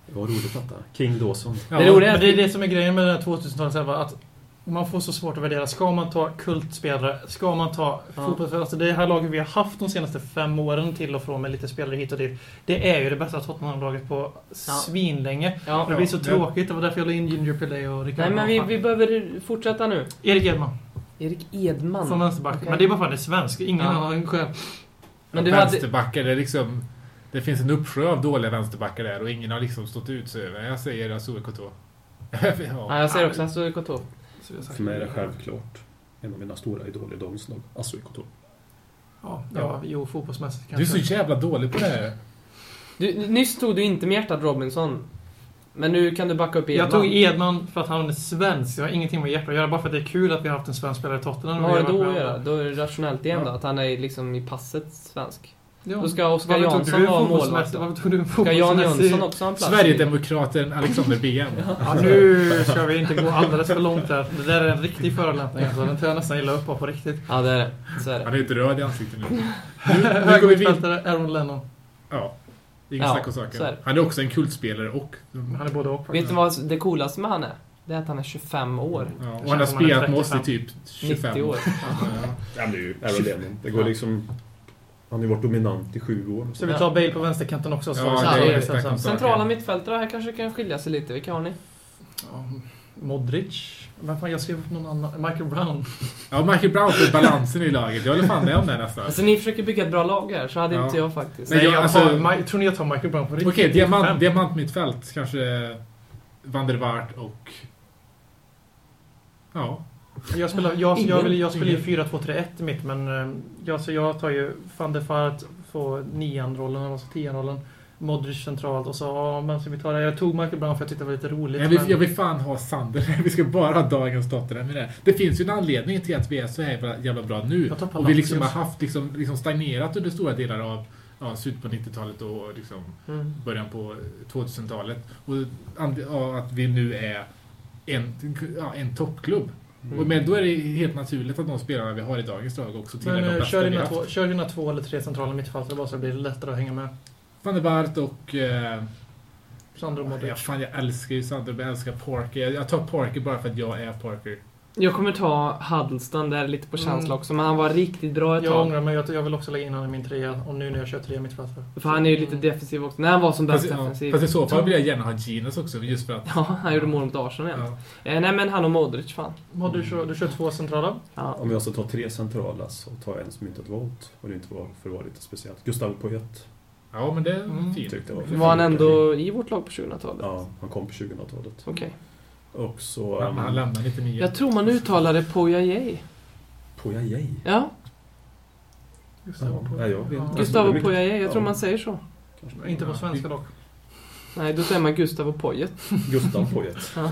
S3: Det var roligt detta. King Dawson.
S2: Ja,
S4: Det roliga
S1: Men det är
S4: är
S1: det som är grejen med den här 2000-talet. så här bara Att man får så svårt att värdera. Ska man ta kultspelare? Ska man ta
S4: Ja.
S1: fotbollsspelare? Alltså det här laget vi har haft de senaste fem åren till och från med lite spelare hit och dit. Det är ju det bästa Tottenham-laget på svinlänge.
S4: Ja.
S1: Det blir så
S2: Ja.
S1: tråkigt. Det var därför jag la in Ginger Pelé och
S4: Nej,
S1: Ricardo
S4: men vi,
S1: Rocha.
S4: vi behöver fortsätta nu.
S1: Erik Edman.
S4: Erik Edman.
S1: Som vänsterback.
S4: Okej.
S1: Men det är bara för att det är svensk. Ingen
S4: Ja.
S1: annan själv.
S4: Men du hade...
S2: vänsterbackar, det är liksom... Det finns en uppsjö av dåliga vänsterbackar där och ingen har liksom stått ut så över. Jag säger Azure Koto.
S4: Ja,
S2: *laughs* ja.
S4: jag säger också Hasse Koto.
S1: Så jag sagt.
S3: För mig är det självklart en av mina stora idoler i dagens lag. Assui Kotor.
S1: Ja, ja, jo fotbollsmässigt
S2: Du är
S1: kanske.
S2: så jävla dålig på det här.
S4: Du, nyss tog du inte med hjärtat Robinson. Men nu kan du backa upp Edman.
S1: jag tog Edman för att han är svensk. Jag har ingenting med hjärtat att göra. Bara för att det är kul att vi har haft en svensk spelare i Tottenham.
S4: Vad har det
S1: Vi
S4: då
S1: varit
S4: att
S1: med
S4: göra?
S1: om
S4: Då är det rationellt igen
S1: Ja.
S4: då, att han är liksom i passet svensk.
S1: det. Ja.
S4: Då ska Oskar
S1: Varför tog
S4: Jansson
S1: du
S4: vara målvakt
S1: fotbollsmästare?
S4: då.
S1: Varför tog du en
S4: Ska Jan Jönsson
S1: fotbollsmästare?
S4: också ha en plats?
S2: Sverigedemokraten Alexander BM.
S1: *laughs* Ja, nu ska vi inte gå alldeles för långt där. Det där är en riktig förolämpning. Alltså. Den tar jag nästan illa upp på på riktigt.
S4: Ja, det är det. Så är det.
S2: Han är inte röd i ansiktet nu.
S1: *laughs*
S2: Nu går vi vidare.
S1: Högermittfältare, Aaron Lennon.
S2: Ja. Inget
S4: Ja,
S2: snack om
S4: så är det.
S2: saken. Han är också en kultspelare och...
S1: Han är både och
S4: Vet
S1: faktiskt.
S4: du vad det coolaste med han är? Det är att han är 25 år.
S2: Ja,
S1: känns
S2: och han har
S1: som han är
S2: spelat med oss i
S1: 35.
S2: typ 25
S4: 90 år.
S2: Ja.
S3: Ja, men det är ju Aaron Lennon. Det går liksom... Han har ju varit dominant i sju år.
S1: Så vi tar Bale på vänsterkanten också. Så
S2: Ja,
S1: så-
S4: det är
S1: så- så-
S2: ett
S1: så-
S2: tack.
S4: Centrala mittfältare, här kanske kan skilja sig lite. Vilka har ni?
S1: Ja, Modric. Vem fan, jag skrev upp någon annan. Michael Brown.
S2: Ja, Michael Brown för balansen i laget. Jag håller fan med om det nästan.
S4: Alltså ni försöker bygga ett bra lag här, så hade
S2: Ja.
S4: inte jag faktiskt.
S2: Nej,
S1: Nej,
S2: jag-
S1: jag,
S2: alltså-
S1: tar, Ma- tror ni jag tar Michael Brown på riktigt?
S2: Okej, diamant,
S1: Fem.
S2: diamant mittfält kanske Van der Waart och... Ja.
S1: Jag spelar, jag, jag, vill, jag spelar ju
S2: Ingen.
S1: 4-2-3-1 i mitt, men eh, jag, så jag tar ju van der Fart på nian-rollen, eller alltså tian-rollen. Modric centralt och så, ja, men så vi tar det. Jag tog Michael Brown för jag tyckte det var lite roligt.
S2: Jag vill,
S1: men-
S2: jag vill fan ha Sander. *laughs* Vi ska bara ha dagens Tottenham i det. här. Det finns ju en anledning till att vi är så jävla, jävla bra nu.
S1: Jag tar Palacios.
S2: Och vi liksom har haft, liksom, liksom stagnerat under stora delar av ja, slutet på 90-talet och liksom
S4: Mm.
S2: början på 2000-talet. Och and- ja, att vi nu är en, ja, en toppklubb.
S3: Mm.
S2: Och, men då är det helt naturligt att de spelarna vi har i dagens lag också tillhör
S1: Men
S2: de
S1: eh,
S2: bästa
S1: kör
S2: vi
S1: dina,
S2: haft.
S1: två, kör dina två eller tre centrala mittfältare bara så det blir lättare att hänga med.
S2: Van der Waart och... Eh,
S1: Sandro
S2: ja,
S1: Modric.
S2: fan, jag älskar ju Sander, jag älskar Parker. Jag, jag tar Parker bara för att jag är Parker.
S4: Jag kommer ta Huddleston där lite på känsla
S1: Mm.
S4: också, men han var riktigt bra ett
S1: Jag
S4: tag.
S1: ångrar mig, jag, jag vill också lägga in honom i min trea. Och nu när jag kör tre mittfältare. Mm.
S4: För han är ju lite defensiv också. När han var som bäst
S2: Fast, ja,
S4: defensiv.
S2: fast i så fall vill jag gärna ha Genus också, just för att...
S4: *laughs* Ja, han gjorde mål mot Arsenal igen.
S2: Ja.
S4: Eh, nej men han och Modric fan.
S1: Modric, du kör två centrala.
S4: Ja.
S3: Om jag ska ta tre centrala så tar jag en som inte har valt. Och det inte var för att vara lite speciellt. Gustav Poyet.
S2: ja, men det är
S1: Mm.
S2: fint.
S3: Tyckte jag var
S4: Var han ändå i vårt lag på 2000-talet?
S3: Ja, han kom på 2000-talet.
S4: Okej.
S3: Och så...
S2: Han, han
S3: Um,
S2: lämnar 99.
S4: Jag tror man uttalade Poyajej.
S3: Poyajej.
S4: Ja,
S3: Ja, nej, jag vet inte.
S4: Gustavo
S3: Alltså, det är mycket-
S4: Poyajej. Jag tror
S3: ja.
S4: man säger så.
S3: Kanske
S1: Inte på svenska dock.
S4: Nej, då säger man Gustavo Poyet.
S3: Gustav Poyet.
S4: Ja.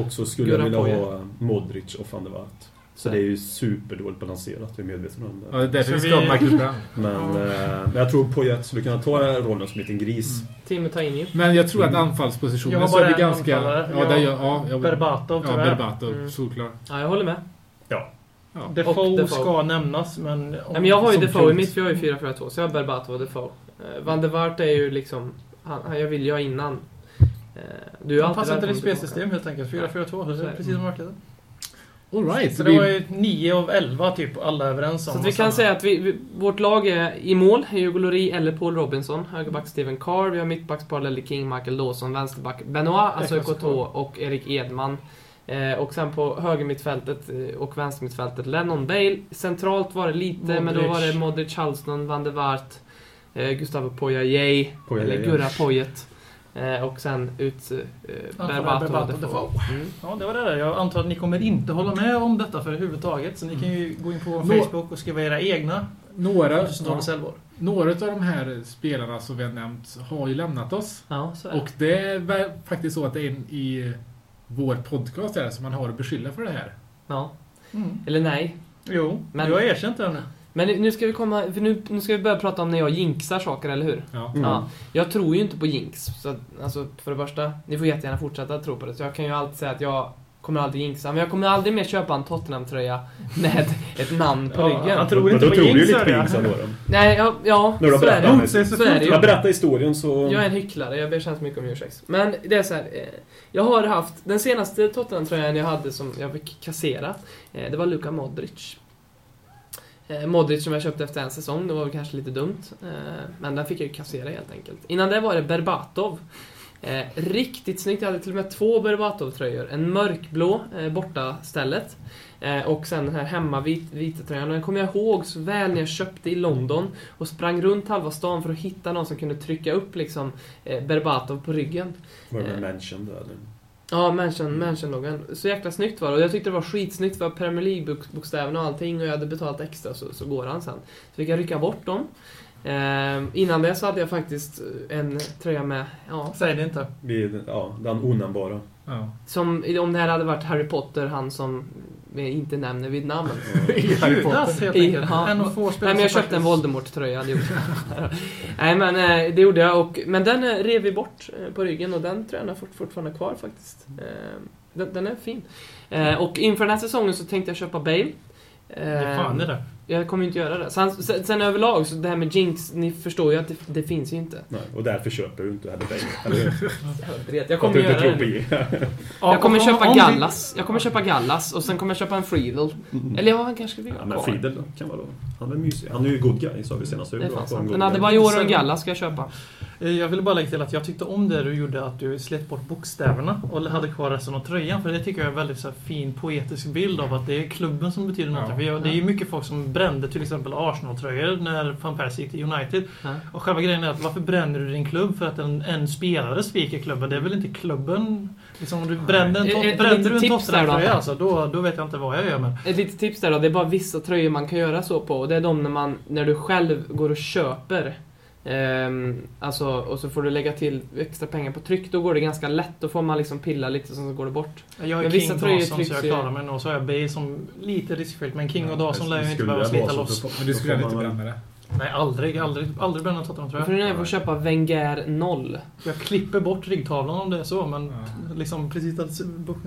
S3: Och så skulle
S4: Göran
S3: jag vilja
S4: Poyet.
S3: ha Modric och van der Waart. Så det är ju superdåligt balanserat, jag är medveten om det.
S2: Ja, det är därför
S1: Så vi-
S2: vi ska ha Michael Brown.
S3: Men,
S1: Ja.
S3: eh, men jag tror Poyet skulle kunna ta den här rollen som en liten gris.
S4: Timmy Tainio.
S2: Men jag tror att
S3: Mm.
S1: Jag
S2: anfallspositionen
S1: har
S2: så är
S1: bara
S2: vi
S1: en
S2: ganska...
S1: anfallare.
S2: Ja,
S1: Jag-
S2: där, jag- ja, jag,
S1: Berbatov
S2: Ja,
S1: tyvärr.
S2: Berbatov.
S4: Mm.
S2: Solklar.
S4: Ja, jag håller med.
S2: Ja.
S1: Defoe,
S4: Och Defoe.
S1: ska nämnas, men... om-
S4: Nej, men jag har ju
S1: som
S4: Defoe i
S1: punkt.
S4: mitt, för jag har ju 4-4-2, så jag har Berbatov och Defoe. Eh, Van de Waart är ju liksom... Han, han, jag vill ju ha innan. Eh, du är ju
S1: Han
S4: alltid
S1: passar inte ditt
S4: välkommen
S1: spelsystem helt enkelt. 4-4-2, det är precis som marknaden.
S2: Alright.
S1: Så
S2: Så
S1: det var
S2: vi,
S1: ju 9 av 11 typ, alla är överens om.
S4: Så att
S1: och
S4: vi
S1: samma.
S4: kan säga att vi, vi, vårt lag är i mål, Hugo Lloris eller Paul Robinson, högerback Steven Carr, vi har mittbackspar Lelle King, Michael Dawson, vänsterback Benoit, alltså
S1: Eklas
S4: Koto och Erik Edman. Eh, och sen på högermittfältet eh, och vänstermittfältet Lennon Bale. Centralt var det lite, men då var
S1: Modric.
S4: det Modric, Charleston, van de Waart, eh, Gustavo Poyajej,
S3: Poyet
S4: eller
S3: är-
S4: Gurra Poyet. Eh, och sen ut eh,
S1: Ja,
S4: Berbatov
S1: Berbatov och
S4: och Defoe. Mm.
S1: Ja, det var det där. Jag antar att ni kommer inte hålla med om detta för överhuvudtaget. Så
S4: Mm.
S1: ni kan ju gå in på vår
S2: Nå-
S1: Facebook och skriva era egna.
S2: några,
S1: Så står det Selborg.
S2: några av de här spelarna som vi har nämnt har ju lämnat oss.
S4: Ja, så är det.
S2: Och det är väl faktiskt så att det är en i vår podcast här som man har att beskylla för det här.
S4: Ja.
S1: Mm.
S4: Eller nej,
S1: Jo,
S4: Men-
S1: du har erkänt det nu.
S4: Men nu- nu ska vi komma, för nu, nu ska vi börja prata om när jag jinxar saker, eller hur?
S2: Ja.
S3: Mm.
S4: Ja, jag tror ju inte på jinx. Så att, alltså, för det första, ni får jättegärna fortsätta att tro på det. Så jag kan ju alltid säga att jag kommer aldrig jinxa. Men jag kommer aldrig mer köpa en Tottenham-tröja med *laughs* ett namn på
S1: Ja,
S4: ryggen.
S1: han tror
S3: Men
S1: inte
S3: då
S1: på
S3: tror du ju
S1: jinx,
S3: lite på
S1: hörde jag.
S3: jinx ändå. då.
S4: Nej, ja, ja
S3: Nu har du
S4: så är det
S3: berättat
S4: ju.
S3: om det.
S1: Motsägelsefullt.
S4: Så är det ju.
S3: Jag berättar historien så...
S4: Jag är en hycklare, jag ber så hemskt mycket om ursäkt. Men det är så här, eh, jag har haft, den senaste Tottenham-tröjan jag hade som jag fick kassera, eh, det var Luka Modric. Eh, Modric som jag köpte efter en säsong, det var väl kanske lite dumt. eh, Men den fick jag ju kassera helt enkelt. Innan det var det Berbatov. Eh, Riktigt snyggt, jag hade till och med två Berbatov-tröjor. En mörkblå, eh, borta stället eh, och sen den här hemmavit- vita tröjan. Och Den kommer jag ihåg så väl när jag köpte i London och sprang runt halva stan för att hitta någon som kunde trycka upp liksom, eh, Berbatov på ryggen.
S3: Var det mentioned där? eller?
S4: Ja, Mansion- Mansion-loggan. Så jäkla snyggt var det. Och jag tyckte det var skitsnyggt för Premier League-bokstäverna och allting och jag hade betalat extra så, så går han sen. Så fick jag rycka bort dem. Eh, innan det så hade jag faktiskt en tröja med, ja,
S1: Säg det inte.
S3: Vi, ja, den
S4: *laughs*
S3: onämnbara.
S2: Ja.
S4: som om det här hade varit Harry Potter, han som vi inte nämner vid namn.
S2: I Harry Potter.
S1: Judas helt enkelt.
S4: Ja.
S1: En av få spelare
S4: Nej men jag
S1: som
S4: köpte en
S1: faktiskt-
S4: Voldemort-tröja, det gjorde jag. *laughs* Nej men eh, det gjorde jag, och, men den eh, rev vi bort eh, på ryggen och den tröjan är fort, fortfarande kvar faktiskt. Eh, Den, den är fin. Eh, Och inför den här säsongen så tänkte jag köpa Bale. Eh,
S1: Det är fan det där.
S4: Jag kommer ju inte göra det. Sen, sen, sen överlag, så det här med jinx, ni förstår ju att det, det finns ju inte.
S3: Nej, och därför köper du inte heller pengar. Eller hur?
S4: Jag
S3: För att
S4: kommer
S3: du inte
S4: göra
S3: tror på
S4: det.
S3: jinx.
S4: Jag kommer
S1: om-
S4: köpa
S1: om vi-
S4: Gallas. Jag kommer köpa Gallas och sen kommer jag köpa en Friedel. Eller ja, han kanske vill
S3: Mm. Ja,
S4: ha
S3: men
S4: kvar.
S3: Friedel då, kan vara då. Han är mysig. Han är ju good guy, sa vi senast.
S4: Det är fan sant. En
S3: Han hade
S4: Adebayor och en Gallas ska jag köpa.
S1: Eh, Jag ville bara lägga till att jag tyckte om det du gjorde, att du slet bort bokstäverna och hade kvar resten av tröjan. För det tycker jag är en väldigt så här, fin poetisk bild av att det är klubben som betyder något.
S2: Ja.
S1: För jag, det är ju mycket folk som brände till exempel Arsenal-tröjor när van Persie gick till United.
S4: Ja.
S1: Och själva grejen är att varför bränner du din klubb? För att en, en spelare sviker klubben. Det är väl inte klubben... Liksom, om du bränner, en
S4: Ett-
S1: tot,
S4: ett
S1: bränner
S4: litet
S1: du en
S4: tips där då.
S1: Tottenham-tröja alltså, då, då vet jag inte vad jag gör med.
S4: Ett litet tips där då, det är bara vissa tröjor man kan göra så på och det är de när, man, när du själv går och köper. Ehm, alltså, och så får du lägga till extra pengar på tryck, då går det ganska lätt. Då får man liksom pilla lite och sen så går det bort.
S1: Jag är
S4: Men
S1: King
S4: vissa
S1: och
S4: tröjor
S1: Dawson så
S4: trycks
S1: jag
S4: ju-
S1: klarar mig nog. Så har jag Bale som lite riskfyllt. Men King och Dawson lär ju inte behöva slita loss.
S2: Men du skulle ändå inte bränna det.
S1: Nej, aldrig. Aldrig, aldrig bränna Tottenham
S4: För
S1: tröja.
S4: nu när jag får köpa Wenger 0.
S1: Jag klipper bort ryggtavlan om det är så. Men liksom precis att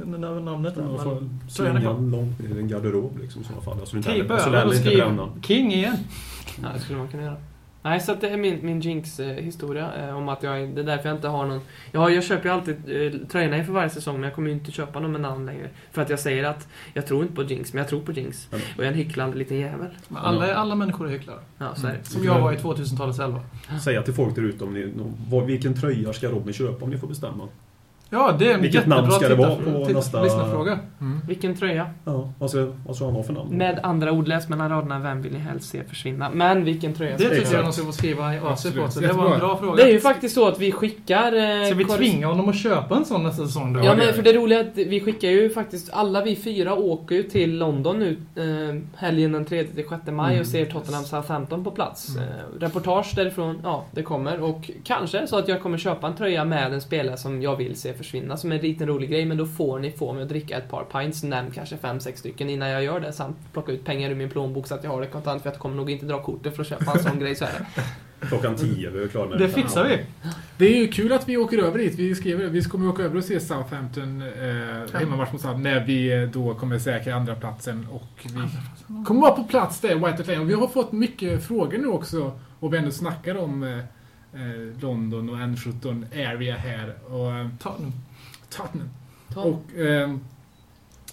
S1: när namnet är.
S3: Man
S1: Men
S3: får
S1: tröjan är
S3: slänga
S1: kvar.
S3: långt i en garderob liksom i sådana fall. Alltså, du
S4: Typ
S3: inte
S1: Tejpa
S3: heller- så lär
S1: över och
S3: du inte
S1: skriv
S3: bränna.
S1: King igen.
S4: Ja, det skulle man kunna göra. Nej, så att det är min, min jinx-historia. Eh, om att jag, det är därför jag inte har någon... Ja, jag köper ju alltid eh, tröjorna inför varje säsong, men jag kommer ju inte köpa någon med namn längre. För att jag säger att jag tror inte på jinx, men jag tror på jinx.
S3: Mm.
S4: Och jag är en hycklande liten jävel.
S1: Men Alla, alla människor är hycklare.
S4: Ja, så är det.
S1: Som jag var i 2000-talets elva.
S3: Säga till folk där ute om ni, vad, vilken tröja ska Robin köpa om ni får bestämma.
S1: Ja, det är en
S3: Vilket
S1: jättebra
S3: namn ska det
S1: titta-
S3: vara på
S1: titta-
S3: nästa-
S1: lyssnarfråga.
S2: Mm.
S4: Vilken tröja?
S3: Ja, vad ska, vad ska han ha för namn?
S4: Med andra ord, läs mellan raderna, vem vill ni helst se försvinna? Men vilken tröja?
S1: Det tycker
S3: Exakt.
S1: jag någon ska få skriva i AC på.
S2: Absolut.
S1: Så det var en
S2: Jättebra.
S1: bra fråga.
S4: Det är ju faktiskt så att vi skickar... eh,
S1: Ska vi
S4: korres-
S1: tvinga honom att köpa en sån nästa säsong då?
S4: Ja,
S2: det
S4: men
S2: gör
S4: för
S2: vi.
S4: det roliga är att vi skickar ju faktiskt, alla vi fyra åker ju till London nu eh, helgen den 3-6 maj och ser Tottenham Southampton på plats. Eh, reportage därifrån, ja, det kommer. Och kanske är det så att jag kommer köpa en tröja med en spelare som jag vill se försvinna som en liten rolig grej, men då får ni få mig att dricka ett par pints, nämn kanske fem sex stycken innan jag gör det, samt plocka ut pengar ur min plånbok så att jag har det kontant, för jag kommer nog inte dra kortet för att köpa en sån *laughs* grej så här.
S3: Klockan 10, vi är klara med
S1: Det fixar vi.
S2: Det är ju kul att vi åker över dit. Vi, skriver, vi kommer åka över och se Southampton eh, hemmamatch mot Southampton när vi eh, då kommer säkra andra platsen och vi kommer vara på plats där, White Hart Lane. Och Vi har fått mycket frågor nu också och vi ändå snackar om eh, eh, London och N17 area här. Och, eh,
S1: Ta nu.
S2: Tottenham.
S4: Ta-
S2: Och, ehm,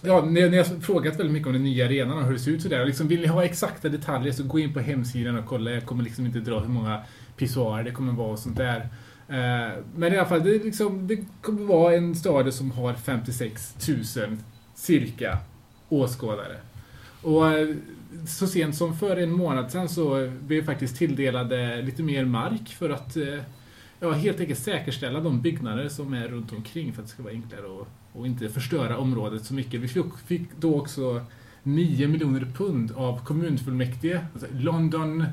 S2: ja, ni, ni har frågat väldigt mycket om den nya arenan och hur det ser ut sådär. Och Liksom, vill ni ha exakta detaljer så gå in på hemsidan och kolla. Jag kommer liksom inte dra hur många pissoarer det kommer vara och sånt där. Eh, men i alla fall, det, är liksom, det kommer vara en stad som har 56 000 cirka åskådare. Och eh, så sent som för en månad sedan så blev faktiskt tilldelade lite mer mark för att eh, Ja, helt enkelt säkerställa de byggnader som är runt omkring för att det ska vara enklare och, och inte förstöra området så mycket. Vi fick, fick då också 9 miljoner pund av kommunfullmäktige, alltså London Mm,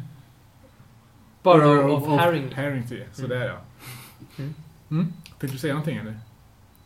S4: Borough of Harrington.
S2: Harrington. Sådär ja.
S4: Mm.
S2: Mm. Tänkte du säga någonting eller?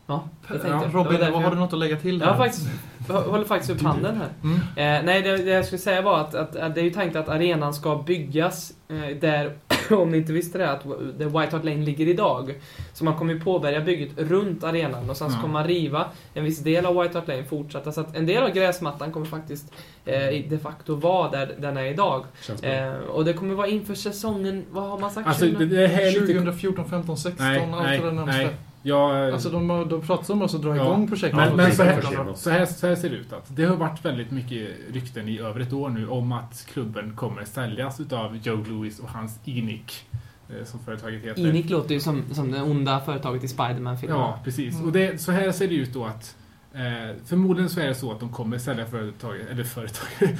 S4: Ja, det tänkte
S1: Ja,
S4: jag. Det
S1: Robin,
S4: var därför
S1: har
S4: jag-
S1: du något att lägga till?
S4: Jag har faktiskt, jag håller faktiskt upp handen här.
S2: Mm.
S4: Eh, nej, det, det jag skulle säga var att, att, att det är ju tänkt att arenan ska byggas eh, där, *clears throat* om ni inte visste det, att där White Hart Lane ligger idag. Så man kommer ju påbörja bygget runt arenan och sen så
S2: Ja.
S4: kommer man riva en viss del av White Hart Lane fortsätta. Så att en del av gräsmattan kommer faktiskt eh, i- de facto vara där den är idag.
S3: Känns bra.
S4: Eh, och det kommer vara inför säsongen, vad har man sagt?
S2: Alltså det, det här är lite...
S1: 2014, 15, 16,
S2: Nej,
S1: allt det där
S2: nej,
S1: närmsta.
S2: nej. Jag,
S1: Alltså de har de pratat om oss att dra
S2: Ja.
S1: igång projektet.
S2: Men-
S1: Ja,
S2: men
S1: det
S2: så
S1: är
S2: här-
S1: klart.
S2: Så här, så här ser det ut. Att det har varit väldigt mycket rykten i över ett år nu om att klubben kommer säljas utav Joe Louis och hans Enic. eh, Som företaget heter.
S4: Inic låter ju som, som det onda företaget i Spiderman-filmen.
S2: Ja, precis.
S1: Mm.
S2: Och det, så här ser det ut då att eh, förmodligen så är det så att de kommer sälja företaget, eller företag, *laughs* eh,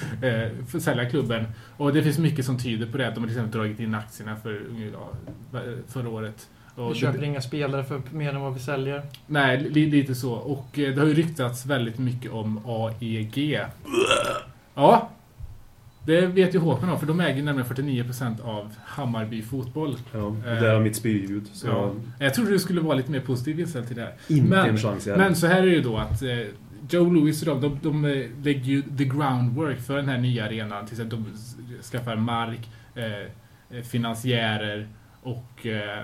S2: för- sälja klubben. Och det finns mycket som tyder på det. Att de har till exempel dragit in aktierna för, ja, förra året. Och
S1: Vi köper inga spelare för mer än vad vi säljer.
S2: Nej, li, lite så. Och eh, det har ju ryktats väldigt mycket om AEG. Ja. Det vet ju Håkan om, för de äger ju nämligen 49% av Hammarby Fotboll.
S3: Ja, det är mitt spyljud. Så
S2: Ja. Jag trodde du skulle vara lite mer positiv inställd till det här.
S3: inte
S2: Men-
S3: en chans i
S2: Men så här är det ju då att eh, Joe Louis och de, de, de eh, lägger ju the groundwork för den här nya arenan. Tills att de s- skaffar mark, eh, eh, finansiärer och eh,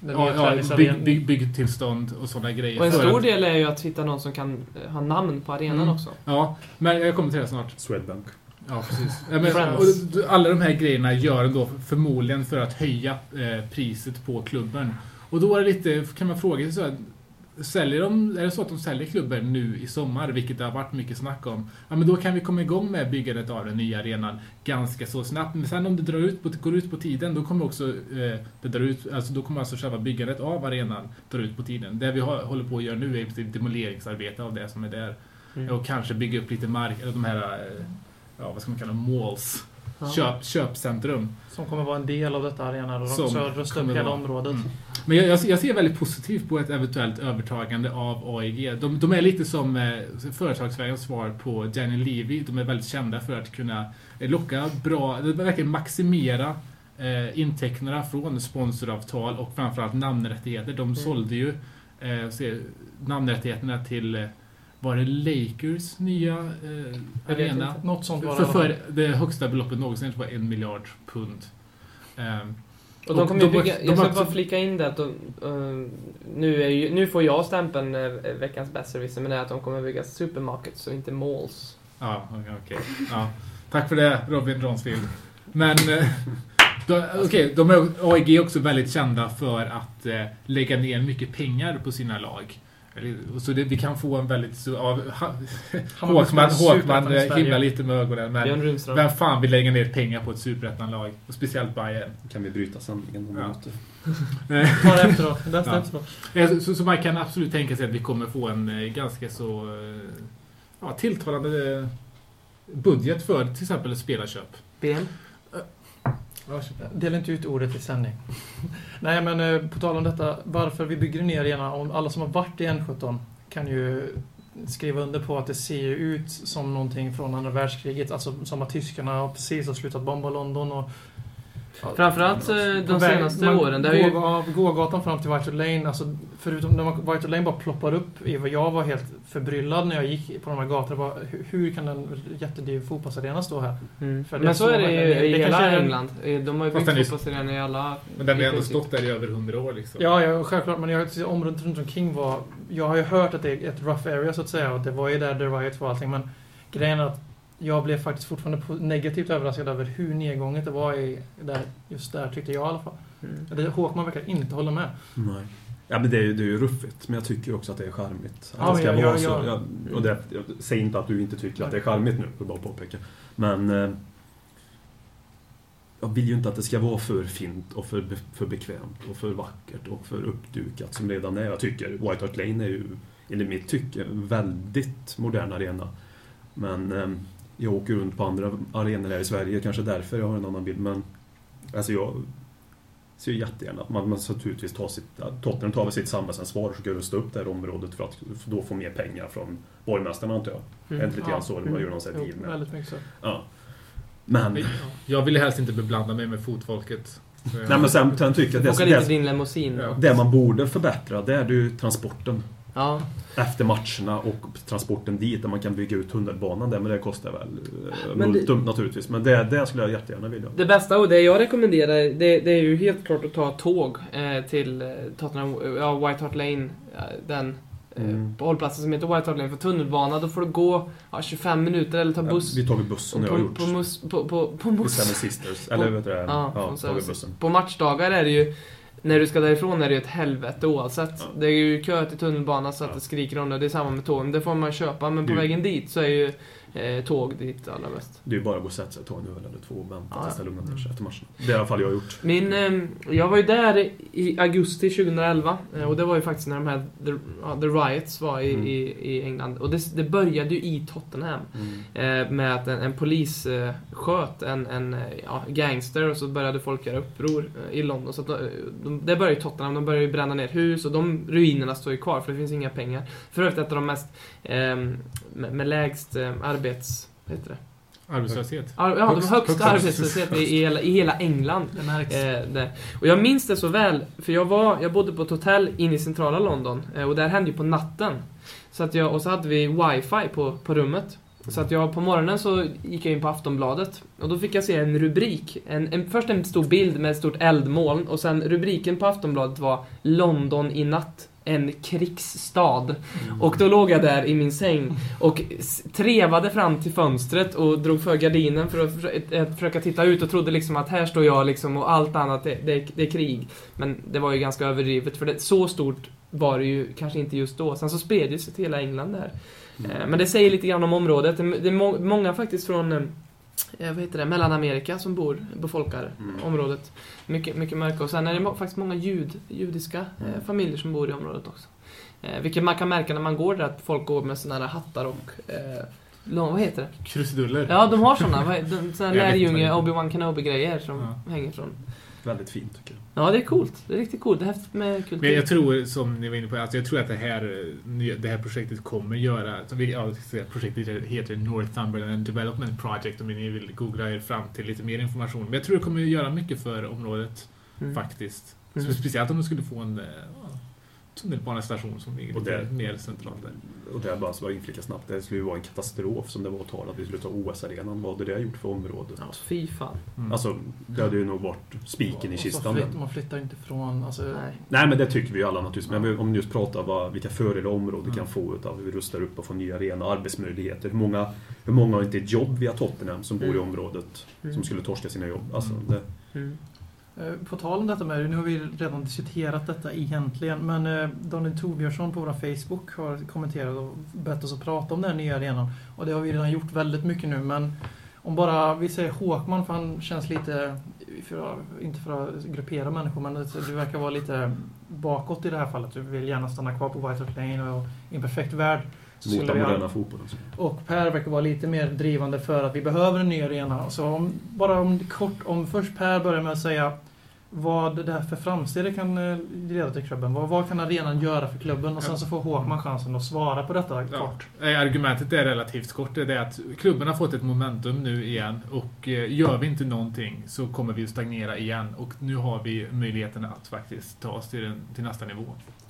S1: Den nya
S2: ja, ja, bygg,
S1: träningsarenan.
S2: bygg, byggtillstånd och sådana grejer.
S4: Och en
S2: För
S4: stor
S2: att-
S4: del är ju att hitta någon som kan eh, ha namn på arenan
S2: Mm.
S4: också.
S2: Ja, men jag kommer till det snart.
S3: Swedbank.
S2: Ja, precis. Ja, men,
S1: Friends.
S2: och, d- alla de här grejerna gör de då förmodligen för att höja eh, priset på klubben. Och då är det lite, kan man fråga sig så att säljer de, är det så att de säljer klubben nu i sommar, vilket det har varit mycket snack om, ja men då kan vi komma igång med byggandet av den nya arenan ganska så snabbt. Men sen om det drar ut på, går ut på tiden, då kommer också eh, det drar ut, alltså då kommer alltså själva byggandet av arenan dra ut på tiden. Det vi har, håller på att göra nu är i princip demoleringsarbete av det som är där. Och kanske bygga upp lite mark, eller de här, eh, ja vad ska man kalla dem, malls.
S4: Ja.
S2: Köp, köpcentrum.
S1: Som kommer vara en del av detta arena. och
S2: Som
S1: De ska rusta upp
S2: kommer
S1: hela
S2: vara-
S1: området.
S2: Mm. Men jag, jag, ser- jag ser väldigt positivt på ett eventuellt övertagande av AEG. De, de är lite som eh, företagsvärldens svar på Daniel Levy. De är väldigt kända för att kunna eh, locka bra, de verkar maximera eh, intäkterna från sponsoravtal och framförallt namnrättigheter. De
S1: Mm.
S2: sålde ju eh, se, namnrättigheterna till, eh, var det Lakers nya eh,
S4: Jag vet
S2: arena?
S4: inte.
S1: Något sånt var
S2: För,
S1: det.
S2: för det högsta beloppet någonsin var en miljard pund. Ehm,
S4: Och de kommer
S2: de
S4: ju
S2: har-
S4: bygga,
S2: de
S4: jag
S2: har
S4: ska bara
S2: också-
S4: flika in det att de, eh, nu, är ju, nu får jag stämpeln eh, veckans bäst service men det är att de kommer bygga supermarkets och inte malls.
S2: Ja, okej. Ja. Tack för det Robin Ronsfield. Men eh, då- okej, de är AIG är också väldigt kända för att eh, lägga ner mycket pengar på sina lag. Eller- Så det, vi kan få en väldigt stor... Ja, ha-
S1: Hammarby
S2: Håkman,
S1: spelar
S2: Håkman
S1: Superettan i
S2: eh,
S1: Sverige.
S2: himlar lite med ögonen. Men
S4: Björn Rundström.
S2: vem fan vill lägga ner pengar på ett superettanlag? Och speciellt Bayern.
S3: Kan vi bryta sändningen om
S2: Ja.
S3: minuter?
S1: Ta det efteråt.
S2: *laughs*
S1: Det
S2: Ja.
S1: är efteråt.
S2: Eh, Så, så, så man kan absolut tänka sig att vi kommer få en eh, ganska så eh, ja, tilltalande eh, budget för till exempel spelarköp.
S4: Ben.
S1: Dela inte ut ordet i sändning. *laughs* Nej, men eh, på tal om detta, varför vi bygger ner arena, om alla som har varit i N17 kan ju skriva under på att det ser ju ut som någonting från andra världskriget, alltså som att tyskarna har precis har slutat bomba London och
S4: Framförallt eh, de senaste åren. Det har ju,
S1: ju... Gågatan fram till White Hart Lane, alltså, förutom när man- White Hart Lane bara ploppar upp, i vad jag var helt förbryllad när jag gick på de här gatorna. Bara, hur, hur kan en jättedyr fotbollsarena stå här?
S4: mm.
S1: för det
S4: Men så
S1: som
S4: är det
S1: verkligen-
S4: ju
S1: det
S4: i
S1: kanske är
S4: hela
S1: en-
S4: England. Eh, De har ju
S2: Fast den är-
S4: byggt fotbollsarenor i alla...
S2: Men den har
S4: i
S2: ju ändå
S4: princip.
S2: stått där i över 100 år liksom.
S1: Ja, ja, självklart. Men jag, har- området runt omkring var... Jag har ju hört att det är ett rough area så att säga. Och det var ju där The Riot var och allting. Men grejen är att jag blev faktiskt fortfarande po- negativt överraskad över hur nedgånget det var i, där, just där, tyckte jag i alla fall.
S5: Mm.
S1: Det, Håkman verkar inte hålla med.
S3: Nej. Ja men det är, ju- det är ju ruffigt, men jag tycker också att det är charmigt.
S1: Ja,
S3: Att det ska
S1: ja, ja,
S3: vara så.
S1: ja.
S3: Jag, och det, jag säger inte att du inte tycker att det är charmigt nu, vill bara påpeka. Men eh, jag vill ju inte att det ska vara för fint och för, be- för bekvämt och för vackert och för uppdukat som redan är. Jag tycker White Hart Lane är ju, enligt mitt tycke, en väldigt modern arena. Men eh, jag åker runt på andra arenor här i Sverige, kanske därför jag har en annan bild. Men alltså jag ser ju jättegärna att man, man så naturligtvis tar sitt, att Tottenham tar väl sitt samhällsansvar och försöker rusta upp det här området för att för då få mer pengar från borgmästaren antar jag.
S5: Mm,
S3: Är det lite
S1: ja.
S3: grann så eller vad gör någon sån här
S1: Jo,
S3: deal med?
S1: väldigt mycket så.
S3: Ja. Men,
S2: Men Jag ville helst inte beblanda mig med fotfolket. Så jag-
S3: nej, men sen, sen tycker jag att
S4: Åka
S3: det,
S4: lite
S3: det,
S4: din limousin.
S2: Ja.
S3: det man borde förbättra det är det ju transporten
S4: Ja.
S3: efter matcherna och transporten dit där man kan bygga ut tunnelbanan där men det kostar väl eh,
S5: Men det-
S3: multum naturligtvis. Men det, det skulle jag jättegärna vilja.
S4: Det bästa och det jag rekommenderar det, det är ju helt klart att ta tåg eh, till eh, Tottenham, ja, White Hart Lane. eh, Den eh,
S3: Mm.
S4: hållplatsen som heter White Hart Lane. För tunnelbana då får du gå ja, 25 minuter eller ta
S3: Ja,
S4: buss.
S3: Vi tar väl bussen
S4: och
S3: jag har
S4: på,
S3: gjort.
S4: på, mus, på, på, på,
S3: På
S4: mus.
S3: Seven Sisters. Eller vet du det?
S4: Ja,
S3: Ja,
S4: från
S3: tar
S4: Seven
S3: vi bussen.
S4: på matchdagar är det ju när du ska därifrån är det ju ett helvete oavsett.
S3: Ja.
S4: Det är ju kö till tunnelbanan så att
S3: Ja.
S4: det skriker om det. Det är samma med tågen. Det får man köpa men
S3: Det
S4: på
S3: är ju-
S4: vägen dit så är ju eh, tåg dit allra bäst.
S3: Det är ju bara att gå och sätta sig, ta en öl eller två och vänta
S4: Ja,
S3: tills det
S4: ja. Mm.
S3: lugnar ner sig efter matchen. Det är i alla fall jag har gjort. Mm.
S4: Min, ehm, jag var ju där i augusti 2011 eh, och det var ju faktiskt när de här The, ja, the Riots var i,
S3: Mm.
S4: i, i England. Och det, det började ju i Tottenham eh, med att en, en polis eh, sköt en, en eh, ja, gangster och så började folk göra uppror eh, i London. Så att, de, de, det började i Tottenham, de började ju bränna ner hus och de ruinerna står ju kvar för det finns inga pengar. För övrigt ett av de mest, ehm, med, med lägst eh, arbets... Vad heter det?
S2: Arbetslöshet.
S4: Ar, ja,
S2: Högst-
S4: de högsta
S2: högst-
S4: arbetslösheten i, i, hela, i hela England.
S1: Det märks.
S4: Eh, nej. Och jag minns det så väl, för jag, var, jag bodde på ett hotell inne i centrala London eh, och det här hände ju på natten. Så att jag, och så hade vi wifi på, på rummet. Så att jag på morgonen så gick jag in på Aftonbladet och då fick jag se en rubrik. En, en, först en stor bild med ett stort eldmoln och sen rubriken på Aftonbladet var London i natt. En krigsstad.
S3: Mm.
S4: Och då låg jag där i min säng och s- trevade fram till fönstret och drog för gardinen för att försö- eh, försöka titta ut och trodde liksom att här står jag liksom och allt annat det, det, är- det är krig. Men det var ju ganska överdrivet för det, så stort var det ju kanske inte just då. Sen så spred det sig till hela England där.
S3: Mm.
S4: Eh, Men det säger lite grann om området. Det är det är må- många faktiskt från eh, eh, vad heter det, Mellanamerika som bor, befolkar
S3: Mm.
S4: området. Mycket, mycket mörka. Och sen är det mo- faktiskt många jud, judiska eh, familjer som bor i området också. Eh, vilket man kan märka när man går där, att folk går med såna här hattar och eh, lång, vad heter det?
S2: Krusiduller.
S4: Ja, de har såna. vad he- de- Såna
S2: Jag vet inte
S4: lärjunge
S2: vad det
S4: Obi-Wan Kenobi-grejer som hänger från.
S3: Väldigt fint tycker jag.
S4: Ja, det är coolt. Det är riktigt coolt. Det är häftigt med
S2: Men
S4: kultur.
S2: jag tror, som ni var inne på, alltså jag tror att det här, eh, det här projektet kommer göra... Som vi, ja, det här projektet heter Northumberland Development Project om ni vill googla er fram till lite mer information. Men jag tror det kommer göra mycket för området
S4: Mm.
S2: faktiskt.
S4: Mm.
S2: Speciellt om de skulle få en eh, ja, tunnelbanestation som ligger
S3: Och
S2: lite
S3: det-
S2: mer centralt där.
S3: Och det här bara så var inflika snabbt, det skulle ju vara en katastrof som det var att tala att vi skulle ta OS-arenan. Vad hade det gjort för området?
S4: Ja, fy fan.
S2: Mm.
S3: Alltså, det hade ju nog varit spiken i
S1: Och så
S3: kistan.
S1: flytt-
S3: men-
S1: Man flyttar inte från... Alltså,
S4: Nej.
S3: Nej men det tycker vi ju alla naturligtvis. Men vi- om vi just pratar vad, vilka fördelar området
S4: Mm.
S3: kan få utav hur vi rustar upp och får nya arena arbetsmöjligheter. Hur många, hur många har inte jobb via Tottenham som bor i
S4: Mm.
S3: området?
S4: Mm.
S3: Som skulle torska sina jobb. Alltså,
S2: Mm.
S3: det,
S4: Mm.
S1: Eh, På tal om detta med det, nu har vi redan diskuterat detta egentligen, men eh, Daniel Torbjörnsson på vår Facebook har kommenterat och bett oss att prata om den här nya arenan. Och det har vi redan gjort väldigt mycket nu, men om bara vi säger Håkman, för han känns lite, för att, inte för att gruppera människor, men det- du verkar vara lite bakåt i det här fallet. Du vill gärna stanna kvar på White Hart Lane och i en perfekt värld. så
S3: mot
S1: skulle
S3: den
S1: vi
S3: moderna fotbollen.
S1: och Per verkar vara lite mer drivande för att vi behöver en ny arena. Så om, bara om, kort om först Per börjar med att säga vad det här för framsteg kan eh, leda till klubben. Vad, vad kan arenan göra för klubben? Och sen så får
S6: Mm.
S1: Håkman chansen att svara på detta
S2: Ja.
S1: kort.
S2: Nej, Argumentet är relativt kort. Det är att klubben har fått ett momentum nu igen och eh, gör vi inte någonting så kommer vi att stagnera igen. Och nu har vi möjligheten att faktiskt ta oss till, den, till nästa nivå.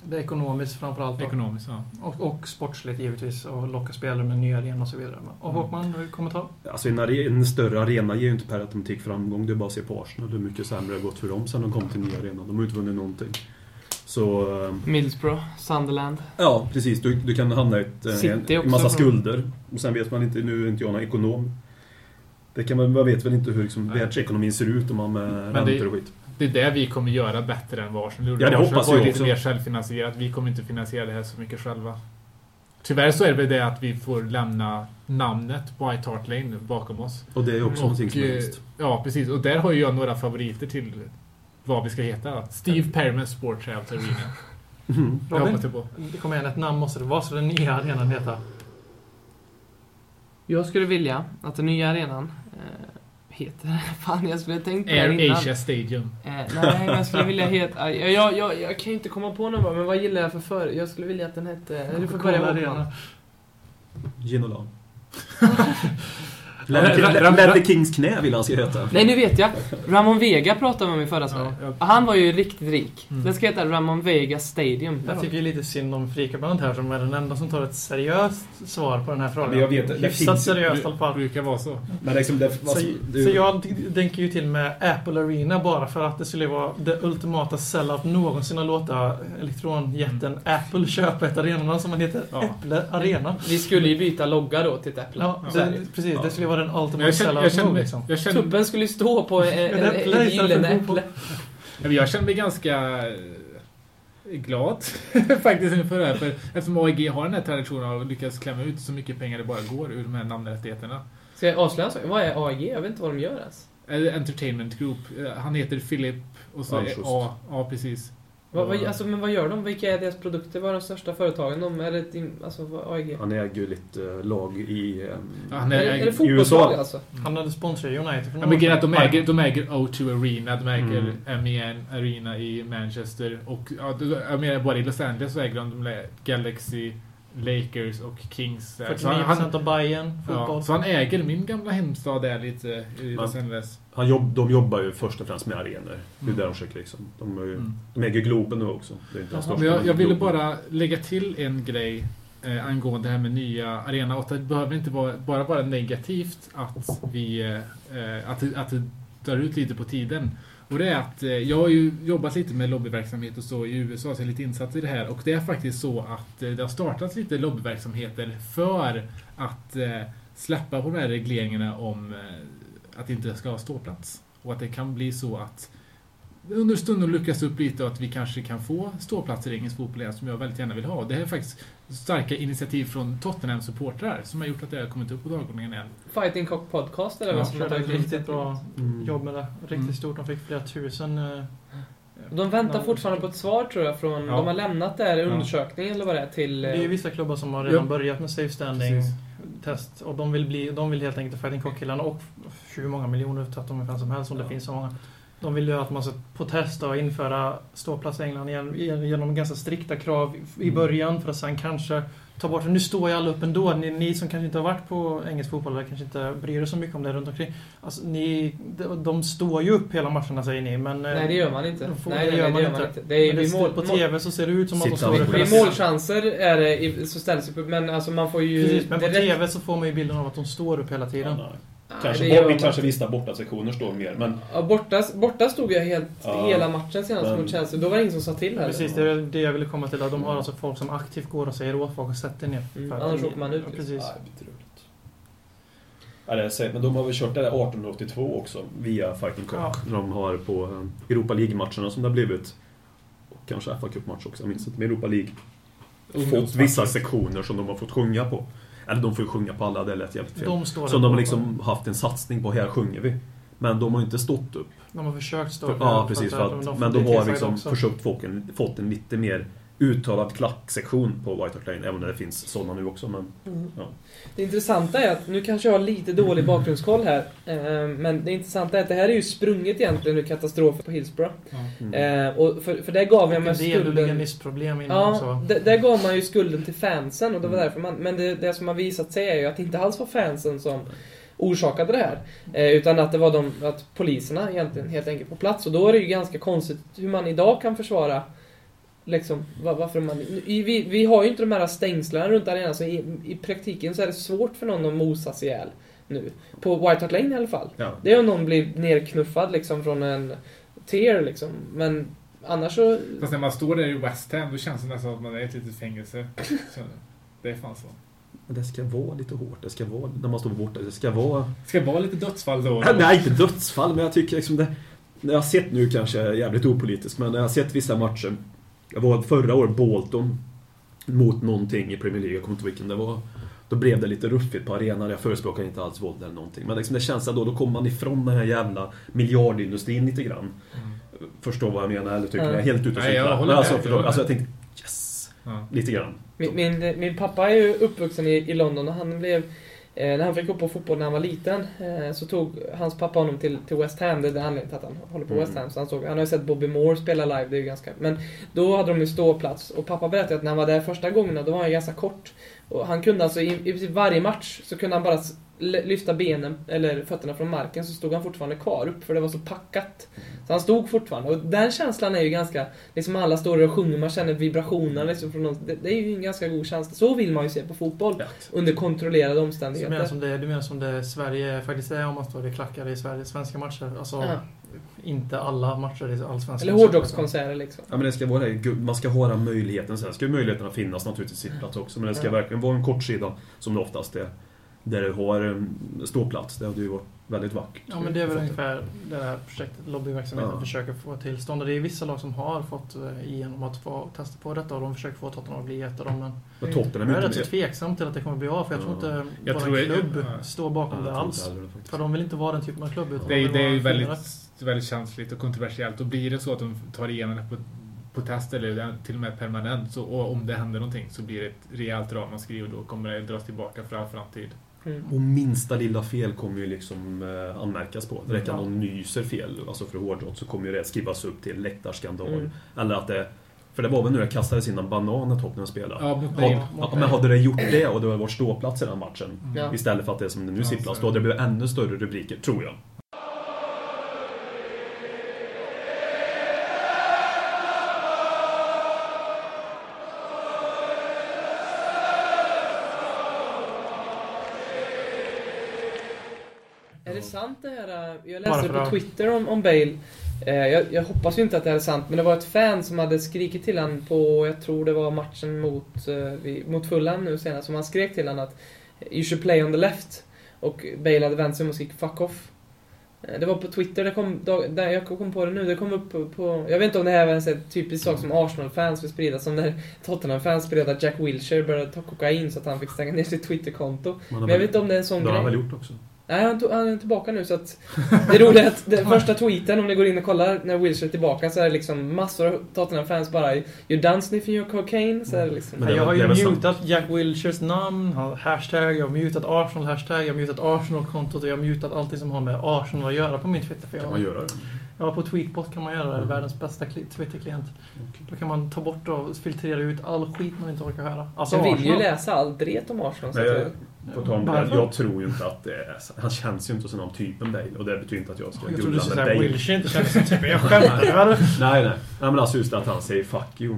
S1: Det är ekonomiskt framförallt. då.
S2: Ekonomiskt, ja.
S1: Och, och sportsligt givetvis. Och locka spelare med nya arenor och så vidare. Och
S6: Mm.
S1: Håkman, du kommentar?
S3: Alltså en, are- en större arena ger ju inte per automatik framgång. Det är bara att se på Arsenal hur mycket sämre det har gått för dem sen de kom till nya arenan. De har ju inte vunnit någonting. Så, eh,
S6: Middlesbrough, Sunderland.
S3: ja precis. Du, du kan hamna i ett, eh,
S6: City
S3: en, en
S6: också.
S3: massa skulder. Och sen vet man inte, nu är inte jag någon ekonom. Det kan man, man vet väl inte hur liksom,
S2: Nej.
S3: världsekonomin ser ut om man med
S2: Men det-
S3: räntor och skit.
S2: Det är det vi kommer göra bättre än vad Arsenal gjorde.
S3: Ja, det
S2: Arsenal
S3: hoppas
S2: var ju
S3: jag
S2: lite
S3: också.
S2: mer självfinansierat. Vi kommer inte finansiera det här så mycket själva. Tyvärr så är det väl det att vi får lämna namnet White Hart Lane bakom oss.
S3: Och det är också någonting som är *laughs*
S2: eh,
S3: hemskt.
S2: Ja, precis. Och där har ju jag några favoriter till vad vi ska heta. Steve Perrymans Sport Trails Arena.
S3: Mhm.
S2: Jag
S1: Robin?
S2: hoppas jag på.
S1: Kom igen, ett namn måste det vara. Så den nya arenan heter.
S6: Jag skulle vilja att den nya arenan eh, heter...
S4: *laughs*
S6: Fan, jag skulle ha tänkt på det här
S2: Air
S6: innan.
S2: Asia Stadium.
S6: Eh, nej, men jag skulle vilja heta... Jag, jag, jag, jag kan ju inte komma på någon bra, men vad gillar jag för för... Jag skulle vilja att den hette... Eh, Du får börja Håkman.
S3: Ginolan.
S2: Ra- ra- ra-
S3: Ledley Kings knä vill han ska heta.
S6: Nej, nu vet jag. Ramon Vega pratade vi om i förra Sverige.
S2: Ja,
S6: Han var ju riktigt rik.
S2: Mm.
S6: Den ska heta Ramon Vega Stadium.
S1: Jag tycker ju lite synd om Frikabandet här som är den enda som tar ett seriöst svar på den här frågan.
S3: Men jag vet- det
S1: Hyfsat
S3: finns-
S1: seriöst i alla
S2: Det
S1: fall.
S2: brukar vara så.
S3: Men liksom, det,
S1: Så, så jag d- tänker ju till med Apple Arena bara för att det skulle vara det ultimata sellout någonsin att låta elektronjätten Apple köpa ett arena som man heter
S2: Mm. Ja.
S1: Äpple Arena.
S4: Vi skulle ju byta logga då till ett äpple.
S1: Ja,
S2: Ja.
S1: det, precis. Det skulle vara den
S2: Men
S1: ultimata
S2: Jag känner,
S1: sellout
S2: jag, känner
S1: nog
S2: mig,
S1: liksom.
S2: jag, känner,
S4: Tuppen skulle ju stå på eh,
S1: Ett
S4: eh,
S1: äpple
S4: ett
S1: istället för
S4: gyllene
S1: en fotboll.
S4: äpple.
S2: jag, jag känner mig ganska eh, glad *laughs* faktiskt inför det här. För eftersom AIG har den här traditionen av att lyckas klämma ut så mycket pengar det bara går ur de här namnrättigheterna.
S4: Ska jag avslöja en sak? Vad är AIG? Jag vet inte vad de gör
S6: alltså.
S4: ens.
S2: Eh, Entertainment Group. Eh, Han heter Philip och så är
S3: Almqvist.
S2: A. Ja, precis.
S4: Vad, vad,
S2: Ja.
S4: alltså, men vad gör de? Vilka är deras produkter? Vad är de största företagen? De, är det, din- alltså, vad, AIG?
S3: Han äger ju lite eh, lag i... ehm,
S2: Ja, han
S4: är, det- är det
S2: är,
S4: fotbollslag
S3: USA.
S4: alltså?
S2: Mm.
S1: Han hade sponsrat United för
S2: Ja, men grejen är att de
S1: sedan.
S2: äger, de äger O2 Arena, de äger MEN Arena i Manchester och ja, det- jag menar bara i Los Angeles så äger de, de där Galaxy, Lakers och Kings. där. Så han,
S1: 49%
S2: han,
S1: av Bayern fotboll.
S2: ja, så han äger min gamla hemstad där lite i Los
S3: Ja.
S2: Angeles.
S3: Han jobb, de jobbar ju först och främst med arenor. Det är
S2: Mm.
S3: där de försöker liksom. De, är ju,
S2: Mm.
S3: de äger Globen nu också. Det är inte den
S1: Jaha.
S3: största,
S2: Men jag, jag ville
S3: Globen.
S2: bara lägga till en grej eh, angående det här med nya arena. Och att det behöver inte vara, bara vara negativt att, vi, eh, eh, att, det- att det drar ut lite på tiden. Och det är att eh, jag har ju jobbat lite med lobbyverksamhet och så i USA, så jag är lite insatt i det här. Och det är faktiskt så att eh, det har startats lite lobbyverksamheter för att eh, släppa på de här regleringarna om eh, att det inte ska ha ståplats. Och att det kan bli så att under stunden lyckas upp lite och att vi kanske kan få ståplatser i engelsk fotboll igen, som jag väldigt gärna vill ha. Och Det här är faktiskt starka initiativ från Tottenham-supportrar som har gjort att det har kommit upp på dagordningen igen.
S4: Fighting Cock Podcast eller
S2: Ja,
S4: vad
S1: Jag
S4: som
S1: tror att det är ett
S4: heter.
S1: riktigt bra
S3: Mm.
S1: jobb med det. Riktigt
S2: Mm.
S1: stort. De fick flera tusen... eh,
S4: De väntar
S1: namn.
S4: fortfarande på ett svar tror jag från...
S2: Ja.
S4: De har lämnat det här i
S2: Ja.
S4: undersökningen eller vad det är till...
S1: Det
S4: eh,
S1: är ju vissa klubbar som har redan
S2: Ja.
S1: börjat med safe standing
S2: Precis.
S1: test och de vill, bli, de vill helt enkelt, Fighting Cock-killarna och f- hur många miljoner tvättar de fan som helst om
S4: Ja.
S1: det finns så många. De vill ju att man ska protesta och införa ståplats i England igen- igen- genom ganska strikta krav i- i
S2: Mm.
S1: början för att sen kanske ta bort det. Nu står ju alla upp ändå. Ni, ni som kanske inte har varit på engelsk fotboll eller kanske inte bryr er så mycket om det runt omkring. Alltså, ni, de, de står ju upp hela matcherna säger ni, men... eh,
S4: Nej det gör man inte.
S1: de får-
S4: Nej, nej, det gör man inte. Det är,
S1: Men
S4: vid
S1: det-
S4: mål,
S1: på
S4: mål,
S1: TV så ser det ut som att de
S3: Sitta
S1: står
S3: vid-
S1: upp
S4: vid
S1: hela-
S4: målchanser är det i, så ställs det upp, men alltså man får ju...
S1: Precis, men på
S4: direkt-
S1: TV så får man ju bilden av att de står upp hela tiden.
S3: Ja, nej.
S4: Nej, det
S3: Kanske,
S4: gör
S3: bort,
S4: man
S3: vi kanske vissa bortasektioner står mer, men
S4: Ja, borta, borta stod jag helt,
S3: Ja.
S4: hela matchen senast
S3: Men-
S4: mot Chelsea. Då var det ingen som sa till heller.
S1: Precis, det är det jag ville komma till. Att de har alltså folk som aktivt går och säger åt folk att sätta er ner.
S4: Mm,
S1: För att-
S4: annars åker man ut,
S1: Ja,
S4: liksom.
S1: Precis.
S3: Nej, bedrövligt. Ja, det är säkert, men de har väl kört det där 1882 också, via Fighting Cock.
S1: Ja.
S3: De har på eh, Europa League-matcherna som det har blivit. Och kanske FA Cup-match också, jag minns inte. Men Europa League. Fått
S2: Ungdomsmatcher.
S3: vissa sektioner som de har fått sjunga på. Eller de får ju sjunga på alla, det lät jävligt fel.
S1: De står
S3: Som
S1: där
S3: de har
S1: på-
S3: liksom haft en satsning på, här sjunger vi. Men de har ju inte stått upp.
S1: De har försökt stå
S3: liksom För, ja, precis. För att, men de har liksom försökt få en, fått en lite mer uttalad klacksektion på White Hart Lane, även om det finns sådana nu också. Men Ja.
S4: Det intressanta är att, nu kanske jag har lite dålig bakgrundskoll här, eh, men det intressanta är att det här är ju sprunget egentligen ur katastrofen på Hillsborough.
S3: mm.
S4: Eh, och för, för där gav jag mig
S1: Det är
S4: skulden...
S1: veganismproblem innan
S4: Ja,
S1: också.
S4: d- där gav man ju skulden till fansen och det var därför man... Men det, det som har visat sig är ju att det inte alls var fansen som orsakade det här. Eh, utan att det var de, att poliserna egentligen helt enkelt på plats. Och då är det ju ganska konstigt hur man idag kan försvara Liksom, va- varför man... i- Vi, vi har ju inte de här stängslarna runt arenan så i, i praktiken så är det svårt för någon att mosas ihjäl nu. På White Hart Lane i alla fall.
S3: Ja.
S4: Det är om någon blir nerknuffad liksom från en tier liksom. Men annars så...
S2: Fast när man står där i West Ham, då känns det nästan som att man är i ett litet fängelse. Så, det är fan så.
S3: Men Det ska vara lite hårt, det ska vara, när man står borta, det ska vara...
S2: Ska det vara lite
S3: *laughs*
S2: dödsfall då och då?
S3: Nej, inte dödsfall, men jag tycker liksom det... När jag har sett nu kanske, jag är jävligt opolitisk, men när jag har sett vissa matcher. Jag var förra året Bolton mot någonting i Premier League, jag kommer inte ihåg vilken det var. Då blev det lite ruffigt på arenan, jag förespråkar inte alls våld eller någonting. Men liksom det känns att då, då kommer man ifrån den här jävla miljardindustrin lite grann.
S2: Mm.
S3: Förstår vad jag menar, eller tycker
S4: Ja.
S3: jag är helt ute och
S2: Nej, jag
S3: cyklar.
S2: håller
S3: Men alltså,
S2: med, jag
S3: förlåt,
S2: håller med.
S3: alltså jag tänkte yes,
S2: Ja.
S3: lite grann.
S4: Min, min, min pappa är ju uppvuxen i, i London och han blev... Eh, när han fick gå på fotboll när han var liten eh, så tog hans pappa honom till, till West Ham. Det är anledningen till att han håller på
S3: Mm.
S4: West Ham. Så han, såg, han har ju sett Bobby Moore spela live, det är ju ganska... Men då hade de ju ståplats och pappa berättade att när han var där första gången då var han ju ganska kort. Och han kunde alltså i, i princip varje match så kunde han bara s- l- lyfta benen eller fötterna från marken så stod han fortfarande kvar upp för det var så packat. Så han stod fortfarande och den känslan är ju ganska, liksom alla står och sjunger, man känner vibrationerna liksom från någon, det, det är ju en ganska god känsla. Så vill man ju se på fotboll under kontrollerade
S1: Du menar
S4: omständigheter.
S1: som det, du menar som det Sverige faktiskt är om man står i klackar i Sverige, svenska matcher? Alltså,
S4: Ja.
S1: inte alla matcher i allsvenskan.
S4: Eller hårdrockskonserter liksom.
S3: Ja, men det ska vara det. Gud, Man ska ha den möjligheten. Sen ska ju möjligheterna finnas naturligtvis i sittplats också. Men det ska
S4: Ja.
S3: verkligen vara en kortsida, som det oftast är. Där du har em, ståplats. Det hade ju varit väldigt vackert.
S1: Ja, men det är väl ungefär det här projektet, lobbyverksamheten,
S3: Ja.
S1: försöker få till stånd. Och det är vissa lag som har fått eh, igenom att få testa på detta och de försöker få Tottenham att bli ett av dem. Men
S3: Men Tottenham
S1: jag är
S3: är
S1: rätt
S3: inte
S1: så
S3: med.
S1: tveksam till att det kommer bli av, för jag tror
S3: Ja.
S1: inte
S2: Jag
S1: vår
S2: tror-
S1: klubb
S2: ja.
S1: står bakom det
S3: Ja, jag tror
S1: alls.
S3: inte heller faktiskt.
S1: För de vill inte vara den typen av klubb. Utan
S2: Det
S1: de
S2: är,
S1: vill
S2: det är ju
S1: vara
S2: väldigt,
S1: finare.
S2: väldigt känsligt och kontroversiellt. Och blir det så att de tar igenom det på, på test eller till och med permanent, så, och om det händer någonting så blir det ett rejält ramaskri och då kommer det dras tillbaka för all framtid.
S4: Mm.
S3: Och minsta lilla fel kommer ju liksom eh, anmärkas på. Det räcker att
S1: Ja.
S3: någon nyser fel, alltså för hårdrott, så kommer ju det skrivas upp till läktarskandal.
S4: Mm.
S3: Eller att det... För det var väl nu det kastades in en banan när Tottenham spelade.
S2: Ja, mot Bale.
S3: Ja, ja, men hade det gjort det och det hade varit ståplats i den matchen,
S4: Ja.
S3: Istället för att det är som det nu
S2: Ja,
S3: sittplats.
S2: så-
S3: Då hade det blivit ännu större rubriker, tror jag.
S4: Är det sant det här? eh, Jag
S1: Bara
S4: läste
S1: för
S4: på
S1: att-
S4: Twitter om, om Bale. Eh, jag, jag hoppas ju inte att det här är sant, men det var ett fan som hade skrikit till han på, jag tror det var matchen mot, eh, vi- mot Fulham nu senast, som han skrek till han att You should play on the left. Och Bale hade vänt sig om och skrek 'fuck off'. Eh, Det var på Twitter, det kom, dag- där jag kom på det nu, det kom upp på, på jag vet inte om det här var en sån här typisk sak som Arsenal-fans vill sprida, som när Tottenham-fans spred att Jack Wilshere började ta kokain så att han fick stänga ner sitt Twitterkonto.
S3: Man har
S4: Men jag
S3: väl-
S4: vet inte om det är en sån
S3: Det har
S4: grej.
S3: han väl gjort också?
S4: Nej, han, tog, han är tillbaka nu så att... Det roliga är att den första tweeten, om ni går in och kollar när Wilshire är tillbaka, så är det liksom massor av Tottenham-fans bara “You're done sniffing your cocaine” så är det liksom...
S3: Men det
S1: jag
S3: var-
S1: har
S3: det
S1: ju
S3: var sant.
S1: mutat Jack Wilshers namn, har hashtag, jag har mutat Arsenal-hashtag, jag har mutat Arsenal-kontot och jag har mutat allting som har med Arsenal att göra på min Twitter. För
S3: Kan man
S1: jag,
S3: göra det?
S1: ja, på Tweetbot kan man göra det,
S3: Mm.
S1: världens bästa kli- Twitter-klient. Då kan man ta bort och filtrera ut all skit man inte orkar höra. Alltså
S4: Jag vill ju
S1: Arsenal.
S4: läsa allt dret om Arsenal så
S3: Nej,
S4: att
S3: jag,
S4: jag...
S3: på tal om det,
S1: Varför?
S3: jag tror ju inte att det är, Han känns ju inte som någon typen Bale och det betyder inte att jag ska
S1: Jag trodde du
S3: gulla
S1: skulle
S3: med
S1: säga
S3: Bale.
S1: Wilshire, inte kändes som typen.
S3: *laughs*
S1: Jag skämtar.
S3: Nej, nej. Nej, men alltså just att han säger 'fuck you'.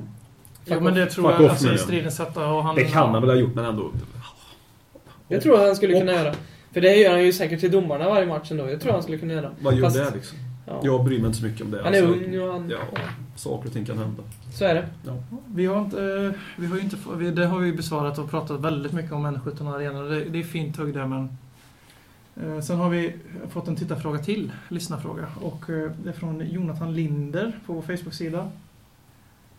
S1: Jo, men det tror
S3: Fuck
S1: jag.
S3: off,
S1: Alltså, i
S3: menar jag.
S1: stridens sätta och han...
S3: Det kan han väl ha gjort, men ändå.
S4: Jag tror att han skulle
S3: Och-
S4: kunna göra. För det gör han ju säkert till domarna varje match ändå. Jag tror han skulle kunna göra.
S3: Vad gör
S4: Fast-
S3: det liksom?
S4: Ja.
S3: Jag bryr mig inte så mycket om det.
S4: Han är
S3: alltså.
S4: ung och han...
S3: Ja, saker och ting kan hända.
S4: Så är det.
S1: Vi har inte... Vi har ju inte få- vi, det har vi besvarat och pratat väldigt mycket om N17 Arena. Det, det är fint tugg där, men... Eh, sen har vi fått en tittarfråga till, lyssnarfråga. Och eh, det är från Jonathan Linder på vår Facebook-sida.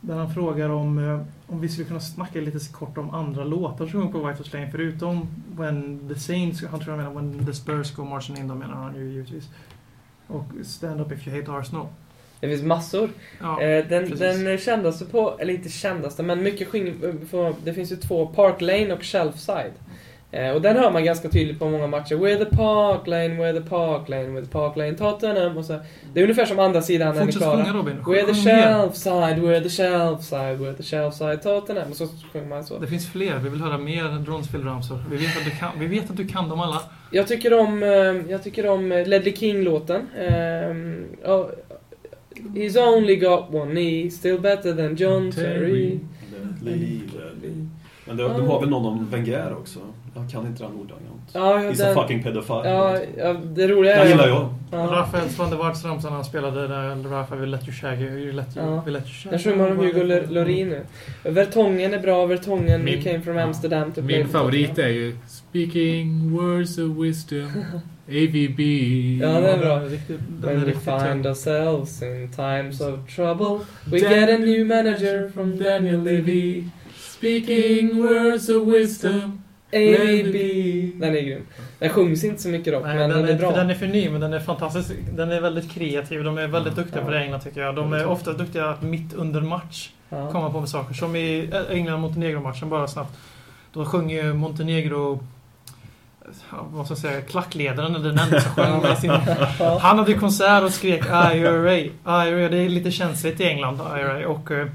S1: Där han frågar om, eh, om vi skulle kunna snacka lite kort om andra låtar som sjungs på White House Lane. Förutom When the Saints, han tror jag menar When the Spurs go marching in, då menar han ju givetvis. Och Stand Up If You Hate Arsenal.
S4: Det finns massor.
S1: Ja.
S4: Eh, den,
S1: precis.
S4: den kändaste på, eller inte kändaste, men mycket skinn, eh, på- det finns ju två, Park Lane och Shelf Side. Eh, och den hör man ganska tydligt på många matcher. Where the Park Lane, where the Park Lane, where the Park Lane, Tottenham och så. Det är ungefär som andra sidan när vi är
S1: Fortsätt
S4: klara.
S1: sjunga Robin.
S4: Where the
S1: Sjung mer.
S4: shelf side, where the shelf side, where the shelf side, Tottenham. Och så sjunger man så.
S1: Det finns fler. Vi vill höra mer Dronsfield-ramsor. Vi, vet att du kan- vi vet att du kan dem alla.
S4: Jag tycker om, eh, jag tycker om eh, Ledley King-låten. Ehm, ja, He's only got one knee, still better than John Terry.
S3: Men det, de har väl någon om Wenger också? Jag kan inte den ordagrant.
S4: Ja, ja,
S3: He's a
S4: den,
S3: fucking pedophile.
S4: ja, ja, det roliga
S3: Den
S4: är...
S3: gillar jag.
S4: Ja,
S1: Rafaels van der Waals-ramsan han spelade där Rafa vill let you shaggy, vill let you,
S4: Ja.
S1: vill let you shaggy.
S4: där sjunger man om Hugo L- Llorin nu. Vertongen är bra, Vertongen
S2: Min-
S4: came from Amsterdam to play
S2: Min
S4: for
S2: favorit
S4: Tottenham.
S2: är ju Speaking words of wisdom, AVB.
S4: Ja, det är bra.
S1: Den Mm. är riktigt, den
S4: When
S1: är
S4: we
S1: riktigt
S4: find
S1: tung.
S4: ourselves in times of trouble We get a new manager from Daniel Levy
S2: Speaking words of wisdom,
S4: AVB Den är grym. Den sjungs inte så mycket dock,
S1: Nej,
S4: men den är, bra.
S1: för den är för ny, men den är fantastisk. Den är väldigt kreativ. De är väldigt duktiga
S4: Ja.
S1: på det i England tycker jag. De är ofta duktiga att mitt under match
S4: ja.
S1: komma på med saker. Som i England-Montenegro-matchen bara snabbt. Då sjöng ju Montenegro ja, vad ska jag säga, klackledaren, eller den enda som sjöng med sin
S4: *laughs* Ja.
S1: Han hade konsert och skrek IRA. IRA, det är lite känsligt i England, IRA. Och eh,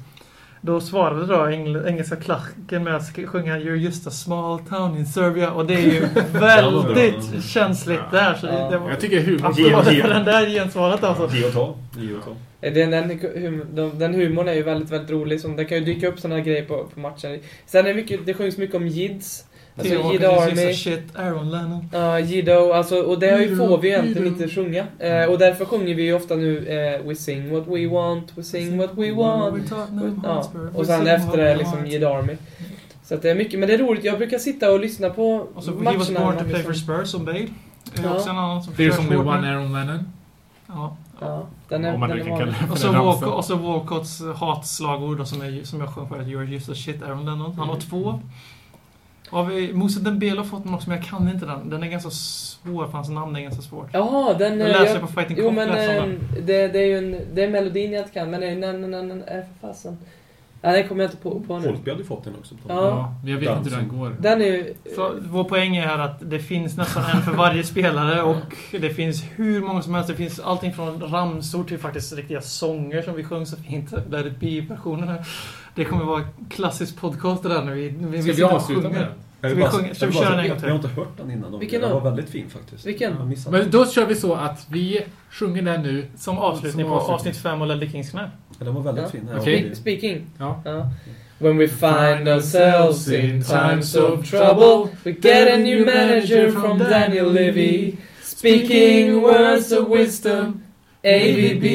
S1: då svarade då engl- engelska klacken med att sk- sjunga You're just a small town in Serbia. Och det är
S4: *laughs*
S1: ju väldigt känsligt där. Så det, det var
S2: Jag tycker humor...
S1: applåder för den där gensvaret alltså.
S3: Ge och ta. Ge och ta.
S4: Den, den, hum- de- den humorn är ju väldigt, väldigt rolig. Som, den kan ju dyka upp sådana grejer på, på matcher. Sen är det mycket, det sjungs mycket om Jids. Alltså
S1: Theo
S4: Jid
S1: Hawkins,
S4: Army,
S1: Jesus, shit, Aaron Lennon.
S4: ja, Jiddo, alltså, och det har
S1: Mm.
S4: ju
S2: Jiddo,
S4: får vi egentligen
S2: Jiddo.
S4: inte sjunga. Eh, och därför sjunger vi ju ofta nu eh, We sing what we want, we sing what we want.
S1: We Tottenham
S4: Ja.
S1: Hotspur, we
S4: Och sen
S1: sing
S4: efter
S1: what
S4: det
S1: we
S4: är liksom
S1: want.
S4: Jid Army. Så att det är mycket, men det är roligt. Jag brukar sitta och lyssna på
S1: Och så
S4: matcherna.
S1: He was born
S4: när
S1: to
S4: man
S1: play for
S4: liksom-
S1: Spurs som Bale. Det är
S4: Ja.
S1: också en annan som
S2: There's
S1: försöker
S2: only
S1: ordna.
S2: one Aaron Lennon.
S1: Ja.
S4: Ja, den är,
S2: Om man
S4: den
S2: nu
S4: är
S2: kan
S4: vanlig.
S2: kalla det för
S1: Och så,
S2: den
S1: Walk,
S2: ramsan.
S1: och så Walcotts hatslagord då, som, är, som jag sjöng förut. You're just a shit Aaron Lennon. Han har två. Av eh, Moussa Dembele har fått någon också, men jag kan inte den. Den är ganska svår, för hans namn är ganska svårt.
S4: Jaha, den...
S1: Jag
S4: eh,
S1: läser
S4: jag-
S1: på Fighting
S4: Jo
S1: Cock,
S4: men
S1: läser om
S4: eh,
S1: den.
S4: det, det är ju en, det är melodin jag inte kan, men det är ju nan, nan, nan, nan, äh, för fasen. Ja, den kommer jag inte på, på nu.
S3: Holtby hade ju fått den också. På.
S4: Ja.
S2: Ja, jag vet inte hur den går.
S4: Den är ju...
S1: Så vår poäng är här att det finns nästan en för varje spelare och det finns hur många som helst. Det finns allting från ramsor till faktiskt riktiga sånger som vi sjöng så fint. Let it be-versionen här. Det kommer vara klassisk podcast det där nu. Vi, vi,
S2: Ska vi
S1: sitter och
S2: avsluta med
S1: sjunger.
S2: den?
S3: Jag vill
S1: Ska vi
S3: bara-
S1: sjunga- ska vi
S3: jag vill bara
S1: köra
S3: säga-
S1: den en gång till?
S3: Jag har inte hört den innan.
S4: Vilken
S3: den
S4: då?
S3: var väldigt fin faktiskt.
S4: Vilken?
S3: Jag har missat
S2: Men då kör vi så att vi sjunger den nu.
S1: Som avslutning
S2: Som
S1: på
S2: avslutning.
S1: avsnitt 5 av Ledley Kings knä.
S3: Ja, Den var väldigt
S4: Ja.
S3: fin.
S2: Okej.
S3: Ja, det-
S4: Speaking.
S2: Ja.
S4: When we find ourselves in times of trouble We get a new manager from Daniel Levy Speaking words of wisdom AVB